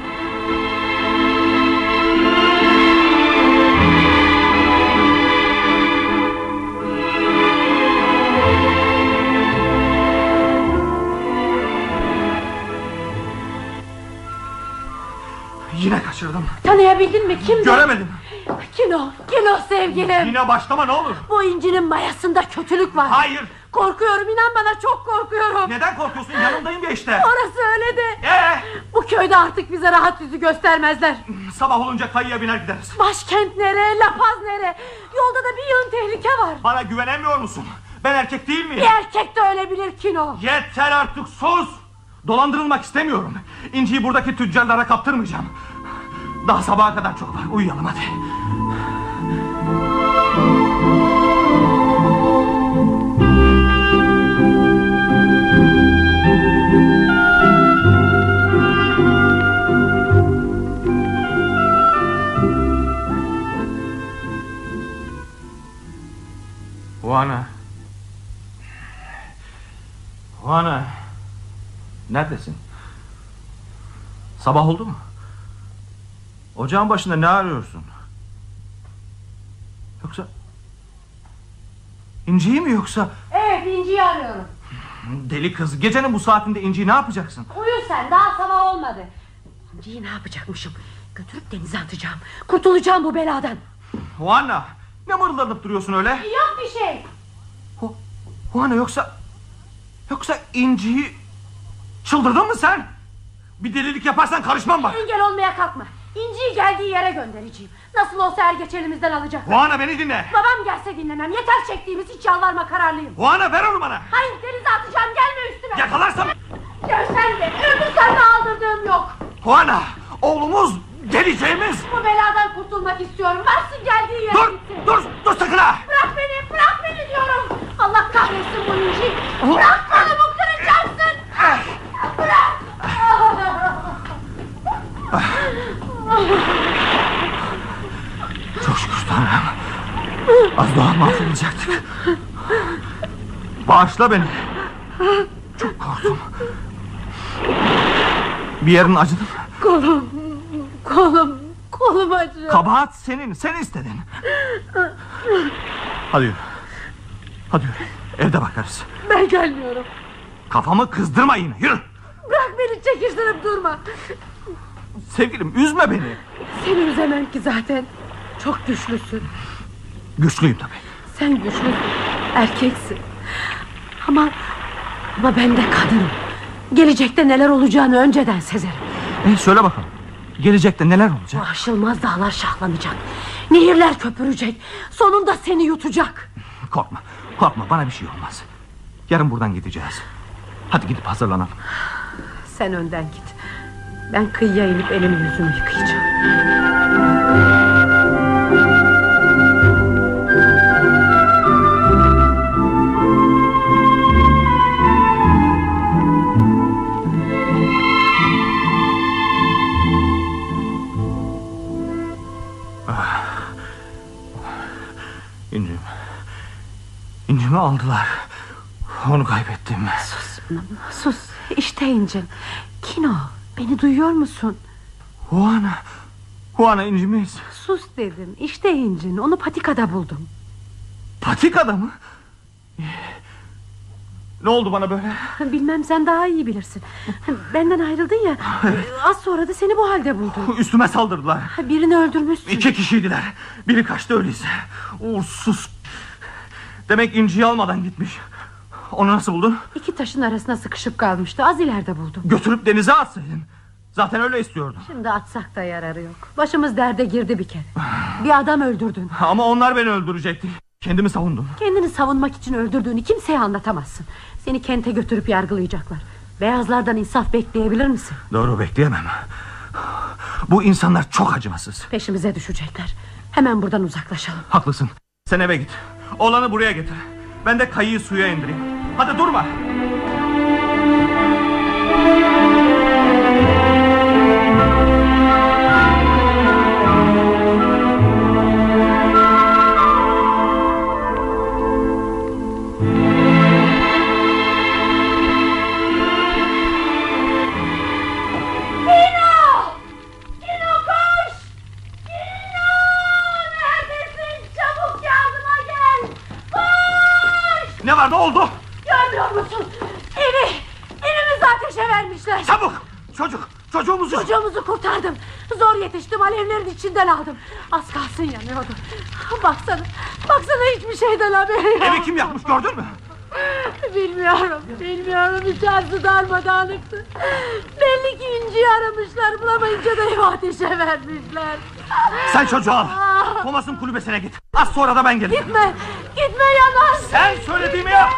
S3: Yine kaçırdım.
S2: Tanıyabildin mi kimdi?
S3: Göremedim.
S2: Kino, Kino sevgilim.
S3: Yine başlama ne olur.
S2: Bu incinin mayasında kötülük var.
S3: Hayır.
S2: Korkuyorum inan bana çok korkuyorum.
S3: Neden korkuyorsun? Yanındayım ya işte.
S2: Orası öyle de.
S3: Ee,
S2: Bu köyde artık bize rahat yüzü göstermezler.
S3: sabah olunca kayıya biner gideriz.
S2: Başkent nereye, La Paz nereye? Yolda da bir yön tehlike var.
S3: Bana güvenemiyor musun? Ben erkek değil miyim?
S2: Bir erkek de ölebilir Kino.
S3: Yeter artık sus! Dolandırılmak istemiyorum. İnciyi buradaki tüccarlara kaptırmayacağım. Daha sabaha kadar çok var. Uyuyalım hadi. Juana. Juana. Neredesin? Sabah oldu mu? Ocağın başında ne arıyorsun? Yoksa... İnciyi mi yoksa?
S2: Evet inciyi Eh, arıyorum.
S3: Deli kız gecenin bu saatinde inciyi ne yapacaksın?
S2: Uyu sen daha sabah olmadı.
S4: İnciyi ne yapacakmışım? Götürüp denize atacağım. Kurtulacağım bu beladan.
S3: Juana ne mırıldanıp duruyorsun öyle?
S2: Yok bir şey.
S3: Hu- Juana yoksa... Yoksa inciyi... Çıldırdın mı sen? Bir delilik yaparsan karışmam bak.
S2: Engel olmaya kalkma. İnciyi geldiği yere göndereceğim. Nasıl olsa er geç elimizden alacak.
S3: Juana beni dinle.
S2: Babam gelse dinlemem. Yeter çektiğimiz hiç yalvarma kararlıyım.
S3: Juana ver onu bana.
S2: Hayır denize atacağım gelme üstüme.
S3: Yakalarsam...
S2: Görsen de ömür sana aldırdığım yok.
S3: Juana oğlumuz geleceğimiz.
S2: Bu beladan kurtulmak istiyorum. Varsın geldiği yere
S3: Dur
S2: gitsin.
S3: dur dur sakın ha.
S2: Bırak beni, bırak beni diyorum. Allah kahretsin bu inci. Bırak kolumu kıracaksın. Bırak.
S3: Çok şükür Tanrım. Az daha mahvolacaktık. Bağışla beni. Çok korktum. Bir yerin acıdı mı?
S4: Kolum, kolum, kolum acıyor.
S3: Kabahat senin, sen istedin. Hadi yürü. Hadi yürü. Evde bakarız.
S4: Ben gelmiyorum.
S3: Kafamı kızdırma yine. Yürü.
S4: Bırak beni çekiştirip durma.
S3: Sevgilim üzme beni.
S4: Seni üzemem ki zaten. Çok güçlüsün.
S3: Güçlüyüm tabii.
S4: Sen güçlüsün. Erkeksin. Ama, ama ben de kadınım. Gelecekte neler olacağını önceden sezerim.
S3: E, söyle bakalım. Gelecekte neler olacak?
S4: Aşılmaz dağlar şahlanacak. Nehirler köpürecek. Sonunda seni yutacak.
S3: Korkma. Korkma bana bir şey olmaz. Yarın buradan gideceğiz. Hadi gidip hazırlanalım.
S4: Sen önden git. Ben kıyıya inip elimi yüzümü yıkayacağım.
S3: Ah. İncim. İncimi aldılar. Onu kaybettim.
S4: Sus, sus. İşte incin. Kino, beni duyuyor musun?
S3: Juana. Juana incimiz.
S4: Sus dedim. İşte incin. Onu patikada buldum.
S3: Patikada mı? Ne oldu bana böyle?
S4: Bilmem sen daha iyi bilirsin. Benden ayrıldın ya. Az sonra da seni bu halde buldum.
S3: Üstüme saldırdılar.
S4: Birini öldürmüşsün.
S3: İki kişiydiler. Biri kaçtı öyleyse. Uğursuz. Demek inciyi almadan gitmiş. Onu nasıl buldun?
S4: İki taşın arasına sıkışıp kalmıştı. Az ileride buldum.
S3: Götürüp denize atsaydın. Zaten öyle istiyordu.
S4: Şimdi atsak da yararı yok. Başımız derde girdi bir kere. Bir adam öldürdün.
S3: Ama onlar beni öldürecekti. Kendimi savundum.
S4: Kendini savunmak için öldürdüğünü kimseye anlatamazsın. Seni kente götürüp yargılayacaklar. Beyazlardan insaf bekleyebilir misin?
S3: Doğru bekleyemem. Bu insanlar çok acımasız.
S4: Peşimize düşecekler. Hemen buradan uzaklaşalım.
S3: Haklısın. Sen eve git. Olanı buraya getir. Ben de kayığı suya indireyim. Hadi durma.
S12: Kino! Kino koş! Kino! Neredesin? Çabuk yardıma gel! Koş!
S3: Ne var ne oldu?
S2: Görmüyor musun? Evi, evimizi ateşe vermişler.
S3: Çabuk. Çocuk. Çocuğumuzu.
S2: Çocuğumuzu kurtardım. Zor yetiştim alevlerin içinden aldım. Az kalsın yanıyordu. Baksana, baksana hiçbir şeyden haberi yok.
S3: Evi kim yakmış gördün mü?
S2: Bilmiyorum, bilmiyorum. İçerisi darmadağınıktı. Belli ki inciyi aramışlar. Bulamayınca da evi ateşe vermişler.
S3: Sen çocuğu al. Thomas'ın kulübesine git. Az sonra da ben gelirim.
S2: Gitme, gitme yanarsın.
S3: Sen söylediğimi yap.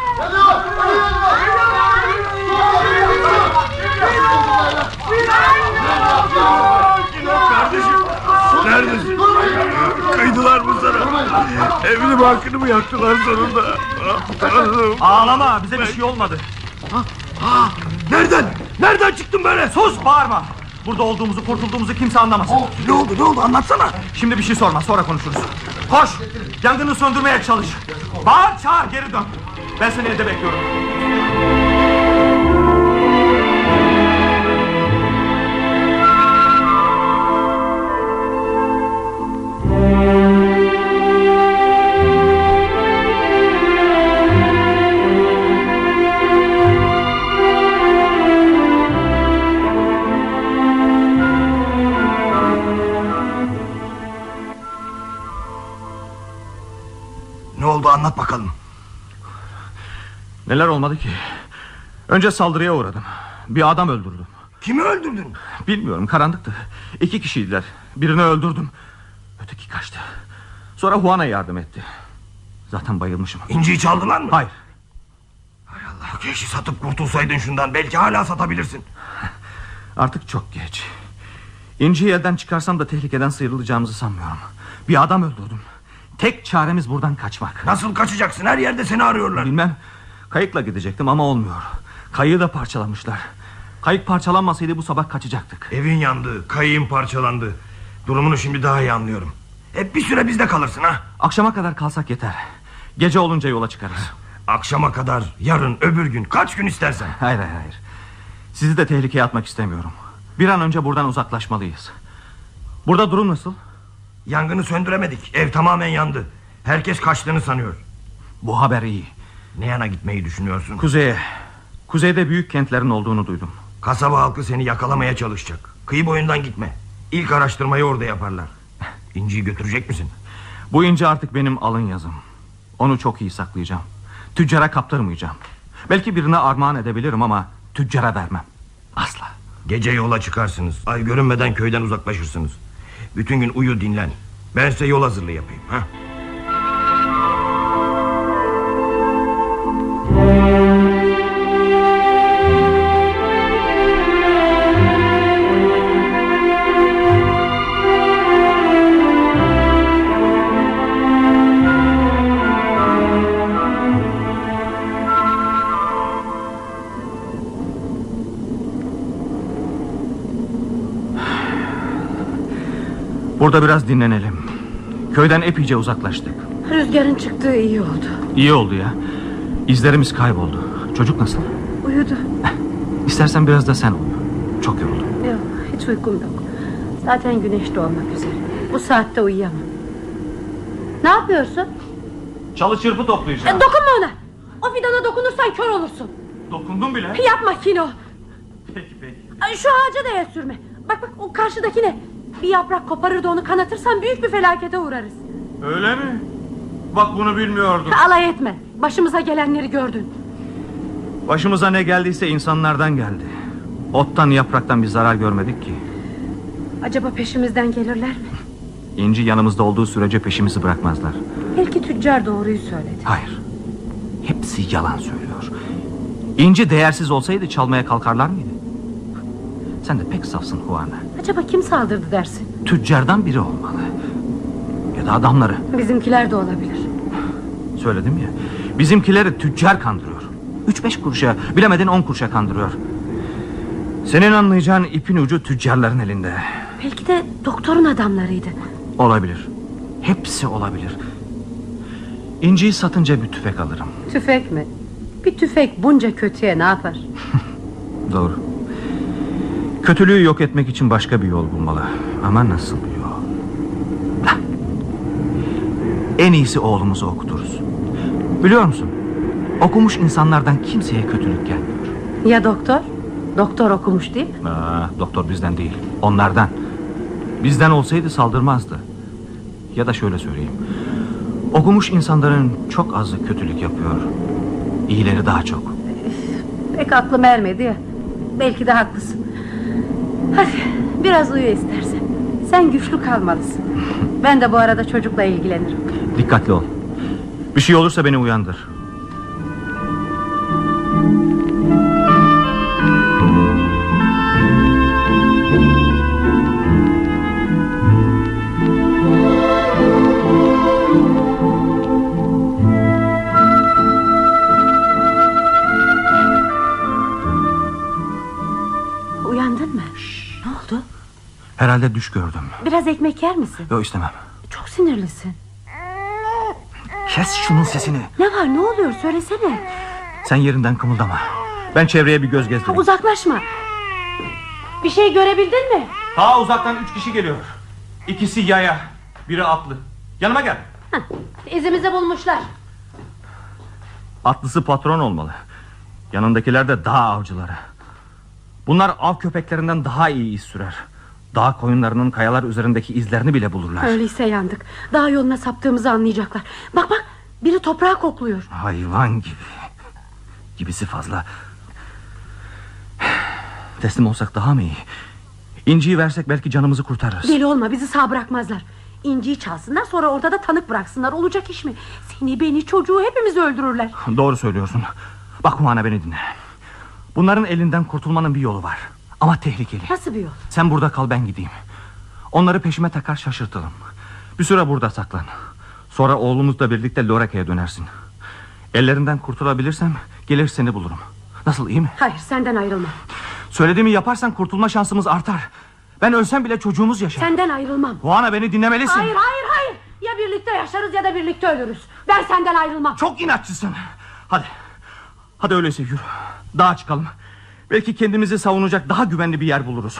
S8: Kardeşim neredesin? Kıydılar mı sana? Evini barkını mı yaktılar sonunda?
S3: Ağlama bize bir şey olmadı.
S8: Nereden? Nereden çıktın böyle? Oh,
S3: Sus bağırma. Burada olduğumuzu kurtulduğumuzu kimse anlamasın.
S8: Ne oldu ne oldu anlatsana.
S3: Şimdi bir şey sorma sonra konuşuruz. Koş yangını söndürmeye çalış. Bağır çağır geri dön. Ben seni evde bekliyorum.
S8: Ne oldu anlat bakalım.
S3: Neler olmadı ki? Önce saldırıya uğradım. Bir adam öldürdüm.
S8: Kimi öldürdün?
S3: Bilmiyorum karanlıktı. İki kişiydiler. Birini öldürdüm. Öteki kaçtı. Sonra Juan'a yardım etti. Zaten bayılmışım.
S8: İnciyi çaldılar mı?
S3: Hayır.
S8: Allah keşke satıp kurtulsaydın şundan. Belki hala satabilirsin.
S3: Artık çok geç. İnciyi elden çıkarsam da tehlikeden sıyrılacağımızı sanmıyorum. Bir adam öldürdüm. Tek çaremiz buradan kaçmak.
S8: Nasıl kaçacaksın? Her yerde seni arıyorlar.
S3: Bilmem. Kayıkla gidecektim ama olmuyor. Kayığı da parçalamışlar. Kayık parçalanmasaydı bu sabah kaçacaktık.
S8: Evin yandı, kayığın parçalandı. Durumunu şimdi daha iyi anlıyorum. Hep bir süre bizde kalırsın ha.
S3: Akşama kadar kalsak yeter. Gece olunca yola çıkarız.
S8: Akşama kadar, yarın, öbür gün, kaç gün istersen.
S3: Hayır hayır hayır. Sizi de tehlikeye atmak istemiyorum. Bir an önce buradan uzaklaşmalıyız. Burada durum nasıl?
S8: Yangını söndüremedik. Ev tamamen yandı. Herkes kaçtığını sanıyor.
S3: Bu haber iyi.
S8: Ne yana gitmeyi düşünüyorsun?
S3: Kuzeye. Kuzeyde büyük kentlerin olduğunu duydum.
S8: Kasaba halkı seni yakalamaya çalışacak. Kıyı boyundan gitme. İlk araştırmayı orada yaparlar. İnciyi götürecek misin?
S3: Bu ince artık benim alın yazım. Onu çok iyi saklayacağım. Tüccara kaptırmayacağım. Belki birine armağan edebilirim ama tüccara vermem. Asla.
S8: Gece yola çıkarsınız. Ay görünmeden köyden uzaklaşırsınız. Bütün gün uyu dinlen. Ben size yol hazırlığı yapayım. Ha?
S3: Burada biraz dinlenelim. Köyden epeyce uzaklaştık.
S4: Rüzgarın çıktığı iyi oldu.
S3: İyi oldu ya. İzlerimiz kayboldu. Çocuk nasıl?
S4: Uyudu.
S3: İstersen biraz da sen uyu. Çok yoruldum.
S4: Yok hiç uykum yok. Zaten güneş doğmak üzere. Bu saatte uyuyamam. Ne yapıyorsun?
S3: Çalı çırpı
S4: E,
S3: toplayacağım.
S4: dokunma ona. O fidana dokunursan kör olursun.
S3: Dokundum bile.
S4: Yapma Kino.
S3: Peki peki.
S4: Ay, Şu ağaca da el sürme. Bak bak o karşıdaki ne? Bir yaprak koparır da onu kanatırsan büyük bir felakete uğrarız.
S3: Öyle mi? Bak bunu bilmiyordum.
S4: Alay etme. Başımıza gelenleri gördün.
S3: Başımıza ne geldiyse insanlardan geldi. Ottan yapraktan bir zarar görmedik ki.
S4: Acaba peşimizden gelirler mi?
S3: İnci yanımızda olduğu sürece peşimizi bırakmazlar.
S4: Belki tüccar doğruyu söyledi.
S3: Hayır. Hepsi yalan söylüyor. İnci değersiz olsaydı çalmaya kalkarlar mıydı? Sen de pek safsın Juana.
S4: Acaba kim saldırdı dersin?
S3: Tüccardan biri olmalı. Ya da adamları.
S4: Bizimkiler de olabilir.
S3: Söyledim ya. Bizimkileri tüccar kandırıyor. Üç beş kuruşa, bilemedin on kuruşa kandırıyor. Senin anlayacağın ipin ucu tüccarların elinde.
S4: Belki de doktorun adamlarıydı.
S3: Olabilir. Hepsi olabilir. İnciyi satınca bir tüfek alırım.
S4: Tüfek mi? Bir tüfek bunca kötüye ne yapar?
S3: Doğru. Kötülüğü yok etmek için başka bir yol bulmalı. Ama nasıl bir yol? Hah. En iyisi oğlumuzu okuturuz. Biliyor musun? Okumuş insanlardan kimseye kötülük gelmiyor.
S4: Ya doktor? Doktor okumuş değil mi?
S3: Aa, doktor bizden değil, onlardan. Bizden olsaydı saldırmazdı. Ya da şöyle söyleyeyim. Okumuş insanların çok azı kötülük yapıyor. İyileri daha çok.
S4: Pek aklım ermedi ya. Belki de haklısın. Hadi biraz uyu istersen. Sen güçlü kalmalısın. Ben de bu arada çocukla ilgilenirim.
S3: Dikkatli ol. Bir şey olursa beni uyandır.
S4: Uyandın mı? Ne oldu?
S3: Herhalde düş gördüm.
S4: Biraz ekmek yer misin?
S3: Yok istemem.
S4: Çok sinirlisin.
S3: Kes şunun sesini.
S4: Ne var ne oluyor söylesene.
S3: Sen yerinden kımıldama. Ben çevreye bir göz
S4: Ha,
S3: gezdireyim.
S4: uzaklaşma. Bir şey görebildin mi?
S3: Ta uzaktan üç kişi geliyor. İkisi yaya, biri atlı. Yanıma gel.
S4: Hah, izimizi bulmuşlar.
S3: Atlısı patron olmalı. Yanındakiler de dağ avcıları. Bunlar av köpeklerinden daha iyi iz sürer. Dağ koyunlarının kayalar üzerindeki izlerini bile bulurlar.
S4: Öyleyse yandık. Daha yoluna saptığımızı anlayacaklar. Bak bak biri toprağı kokluyor.
S3: Hayvan gibi. Gibisi fazla. Teslim olsak daha mı iyi? İnciyi versek belki canımızı kurtarırız.
S4: Deli olma bizi sağ bırakmazlar. İnciyi çalsınlar sonra ortada tanık bıraksınlar. Olacak iş mi? Seni beni çocuğu hepimiz öldürürler.
S3: Doğru söylüyorsun. Bak Huana beni dinle. Bunların elinden kurtulmanın bir yolu var. Ama tehlikeli.
S4: Nasıl bir yol?
S3: Sen burada kal ben gideyim. Onları peşime takar şaşırtalım. Bir süre burada saklan. Sonra oğlumuzla birlikte Loreka'ya dönersin. Ellerinden kurtulabilirsem gelir seni bulurum. Nasıl iyi mi?
S4: Hayır senden ayrılmam.
S3: Söylediğimi yaparsan kurtulma şansımız artar. Ben ölsem bile çocuğumuz yaşar.
S4: Senden ayrılmam.
S3: Huana beni dinlemelisin.
S4: Hayır hayır hayır. Ya birlikte yaşarız ya da birlikte ölürüz. Ben senden ayrılmam.
S3: Çok inatçısın. Hadi. Hadi öyleyse yürü. Dağa çıkalım. Belki kendimizi savunacak daha güvenli bir yer buluruz.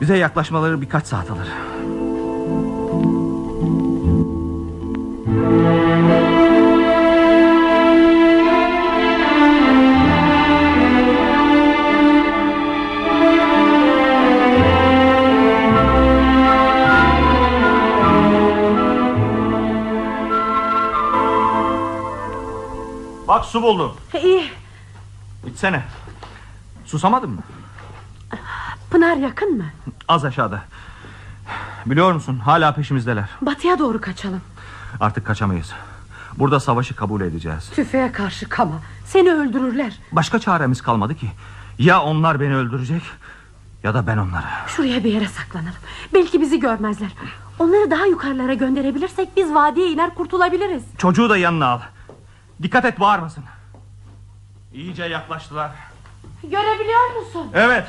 S3: Bize yaklaşmaları birkaç saat alır. Bak su buldum.
S4: İyi.
S3: İçsene. Susamadın mı?
S4: Pınar yakın mı?
S3: Az aşağıda. Biliyor musun hala peşimizdeler.
S4: Batıya doğru kaçalım.
S3: Artık kaçamayız. Burada savaşı kabul edeceğiz.
S4: Tüfeğe karşı kama. Seni öldürürler.
S3: Başka çaremiz kalmadı ki. Ya onlar beni öldürecek ya da ben onları.
S4: Şuraya bir yere saklanalım. Belki bizi görmezler. Onları daha yukarılara gönderebilirsek biz vadiye iner kurtulabiliriz.
S3: Çocuğu da yanına al. Dikkat et bağırmasın. İyice yaklaştılar.
S2: Görebiliyor musun?
S3: Evet.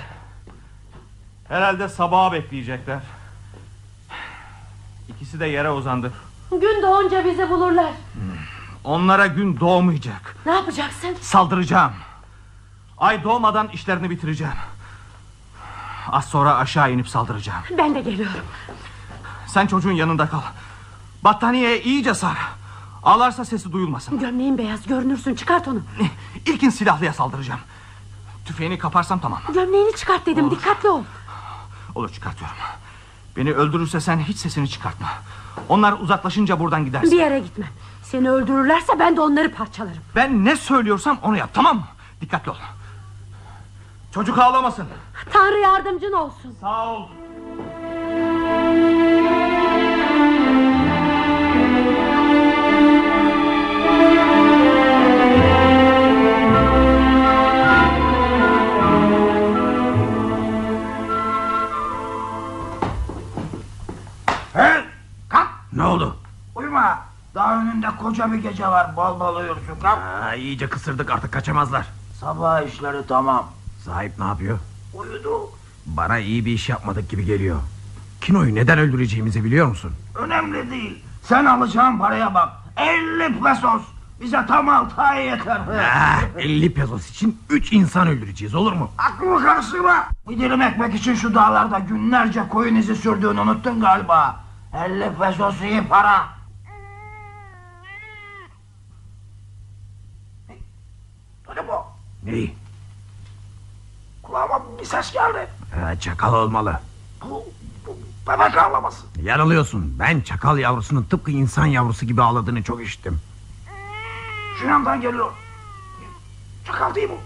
S3: Herhalde sabaha bekleyecekler. İkisi de yere uzandı.
S2: Gün doğunca bizi bulurlar.
S3: Onlara gün doğmayacak.
S2: Ne yapacaksın?
S3: Saldıracağım. Ay doğmadan işlerini bitireceğim. Az sonra aşağı inip saldıracağım.
S4: Ben de geliyorum.
S3: Sen çocuğun yanında kal. Battaniyeye iyice sar. Ağlarsa sesi duyulmasın.
S4: Gömleğin beyaz görünürsün çıkart onu.
S3: İlkin silahlıya saldıracağım. Tüfeğini kaparsam tamam.
S4: Gömleğini çıkart dedim dikkatli ol.
S3: Olur çıkartıyorum. Beni öldürürse sen hiç sesini çıkartma. Onlar uzaklaşınca buradan gidersin.
S4: Bir yere gitme.
S2: Seni öldürürlerse ben de onları parçalarım.
S5: Ben ne söylüyorsam onu yap tamam mı? Dikkatli ol. Çocuk ağlamasın.
S2: Tanrı yardımcın olsun.
S5: Sağ ol.
S11: Hey! Kalk!
S8: Ne oldu?
S11: Uyuma! Daha önünde koca bir gece var. Bal bal uyursun. Kalk!
S8: Ha, iyice kısırdık artık kaçamazlar.
S11: Sabah işleri tamam.
S8: Sahip E, ne yapıyor?
S11: Uyudu.
S8: Bana iyi bir iş yapmadık gibi geliyor. Kino'yu neden öldüreceğimizi biliyor musun?
S11: Önemli değil. Sen alacağın paraya bak. 50 pesos. Bize tam altı ay yeter.
S8: Ah, 50 pesos için 3 insan öldüreceğiz olur mu?
S11: Aklımı karıştırma. Bir dilim ekmek için şu dağlarda günlerce koyun izi sürdüğünü unuttun galiba. 50 pesos iyi para. Hey, Duydun mu?
S8: Neyi?
S11: Kulağıma bir ses geldi.
S8: Ha, çakal olmalı.
S11: Bu, bu bebek ağlaması.
S8: Yanılıyorsun. Ben çakal yavrusunun tıpkı insan yavrusu gibi ağladığını çok işittim.
S11: Şu yandan geliyor. Çakal değil bu.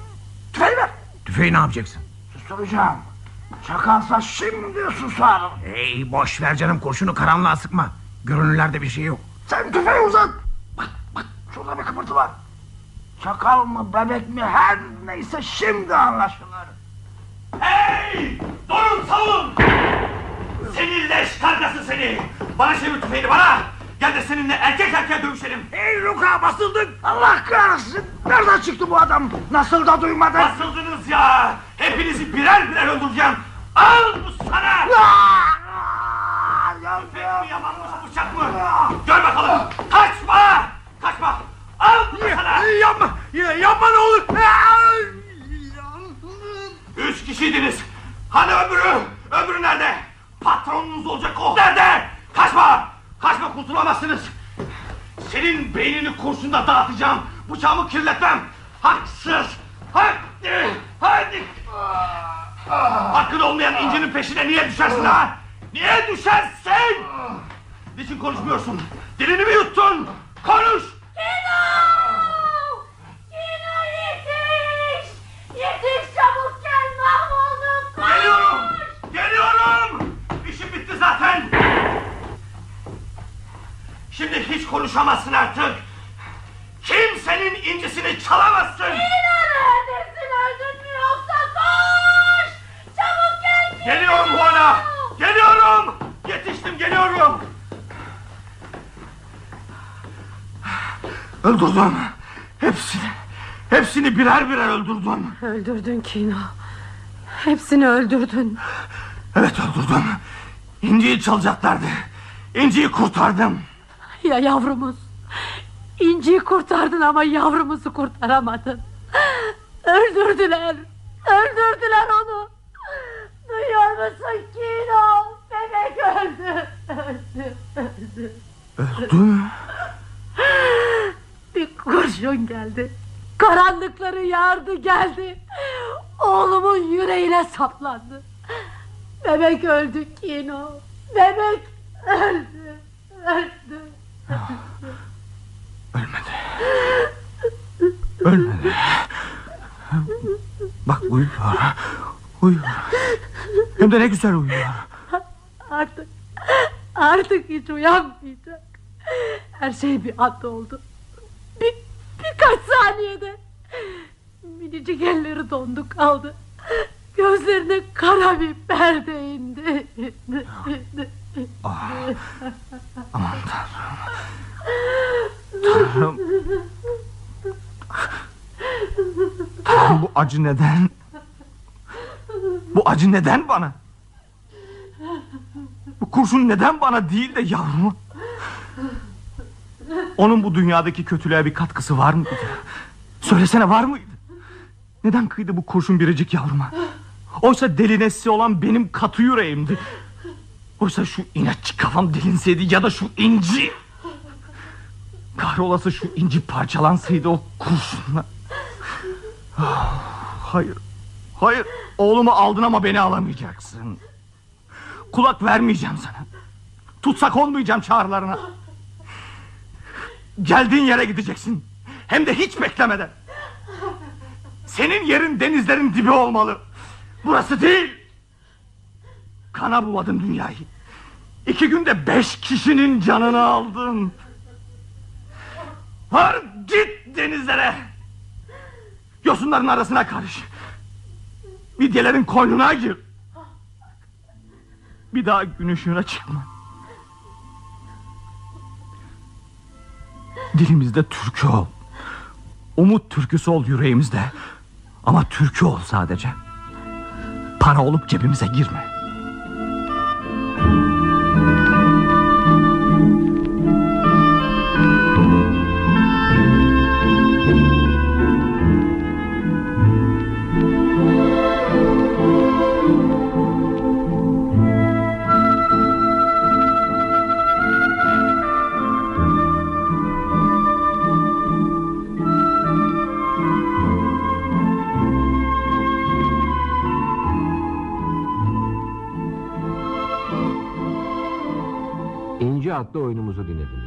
S11: Tüfeği ver.
S8: Tüfeği ne yapacaksın?
S11: Susturacağım. Çakalsa şimdi susar.
S8: Hey boş ver canım kurşunu karanlığa sıkma. Görünürlerde bir şey yok.
S11: Sen tüfeği uzat. Bak bak şurada bir kıpırtı var. Çakal mı bebek mi her neyse şimdi anlaşılır.
S5: Hey! Durun savun! Seni leş kargası seni! Bana çevir tüfeğini bana! Gel de seninle erkek erkeğe dövüşelim.
S11: Ey Luka basıldık. Allah kahretsin. Nereden çıktı bu adam? Nasıl da duymadın?
S5: Basıldınız ya! Hepinizi birer birer öldüreceğim. Al bu sana!
S11: Aa! Yardım!
S5: Tüfek mi yamanmış bıçak mı? Gör bakalım! Kaçma! Kaçma! Al bu sana! Yapma! Yapma ne olur! Üç kişiydiniz. Hani öbürü? Öbürü nerede? Patronunuz olacak o. Nerede? Kaçma! Kaçma kurtulamazsınız. Senin beynini kurşunda dağıtacağım. Bıçağımı kirletmem. Haksız. Hak. Hadi. Hakkın olmayan incinin peşine niye düşersin ha? Niye düşersin? Niçin konuşmuyorsun? Dilini mi yuttun? Konuş.
S4: Kino yetiş! Yetiş çabuk gel mahvolduk! Koş!
S5: Geliyorum. Geliyorum. İşim bitti zaten. Şimdi hiç konuşamazsın artık. Kimsenin incisini çalamazsın.
S4: Kino neredesin öldün mü yoksa koş! Çabuk gel Kino!
S5: Geliyorum Juana! Geliyorum! Yetiştim geliyorum! Öldürdüm. Hepsini. Hepsini birer birer öldürdüm.
S2: Öldürdün Kino. Hepsini öldürdün.
S5: Evet öldürdüm. İnciyi çalacaklardı. İnciyi kurtardım.
S2: Ya yavrumuz. İnciyi kurtardın ama yavrumuzu kurtaramadın. Öldürdüler. Öldürdüler onu.
S4: Duyuyor musun Kino? Bebek öldü! Öldü! Öldü!
S2: Bir kurşun geldi. Karanlıkları yardı geldi. Oğlumun yüreğine saplandı. Bebek öldü Kino. Bebek öldü. Öldü.
S5: Ölmedi. Bak uyuyor. Uyuyor. Hem de ne güzel uyuyor.
S2: Artık artık hiç uyanmayacak. Her şey bir anda oldu. Bir, birkaç saniyede minicik elleri dondu kaldı. Gözlerine kara bir perde indi.
S5: Ah, Aman tanrım. Tanrım. Tanrım bu acı neden? Bu acı neden bana? Bu kurşun neden bana değil de yavruma? Onun bu dünyadaki kötülüğe bir katkısı var mıydı? Söylesene var mıydı? Neden kıydı bu kurşun biricik yavruma? Oysa deli nesli olan benim katı yüreğimdi. Oysa şu inatçı kafam delinseydi ya da şu inci... Kahrolası şu inci parçalansaydı o kurşunla. Ah, Hayır, hayır. Oğlumu aldın ama beni alamayacaksın. Kulak vermeyeceğim sana. Tutsak olmayacağım çağrılarına. Geldiğin yere gideceksin. Hem de hiç beklemeden. Senin yerin denizlerin dibi olmalı. Burası değil. Kana buladın dünyayı. İki günde beş kişinin canını aldın. Var git denizlere. Yosunların arasına karış. Midyelerin koynuna gir. Bir daha gün ışığına çıkma. Dilimizde türkü ol. Umut türküsü ol yüreğimizde. Ama türkü ol sadece. Para olup cebimize girme.
S1: İnci adlı oyunumuzu dinlediniz.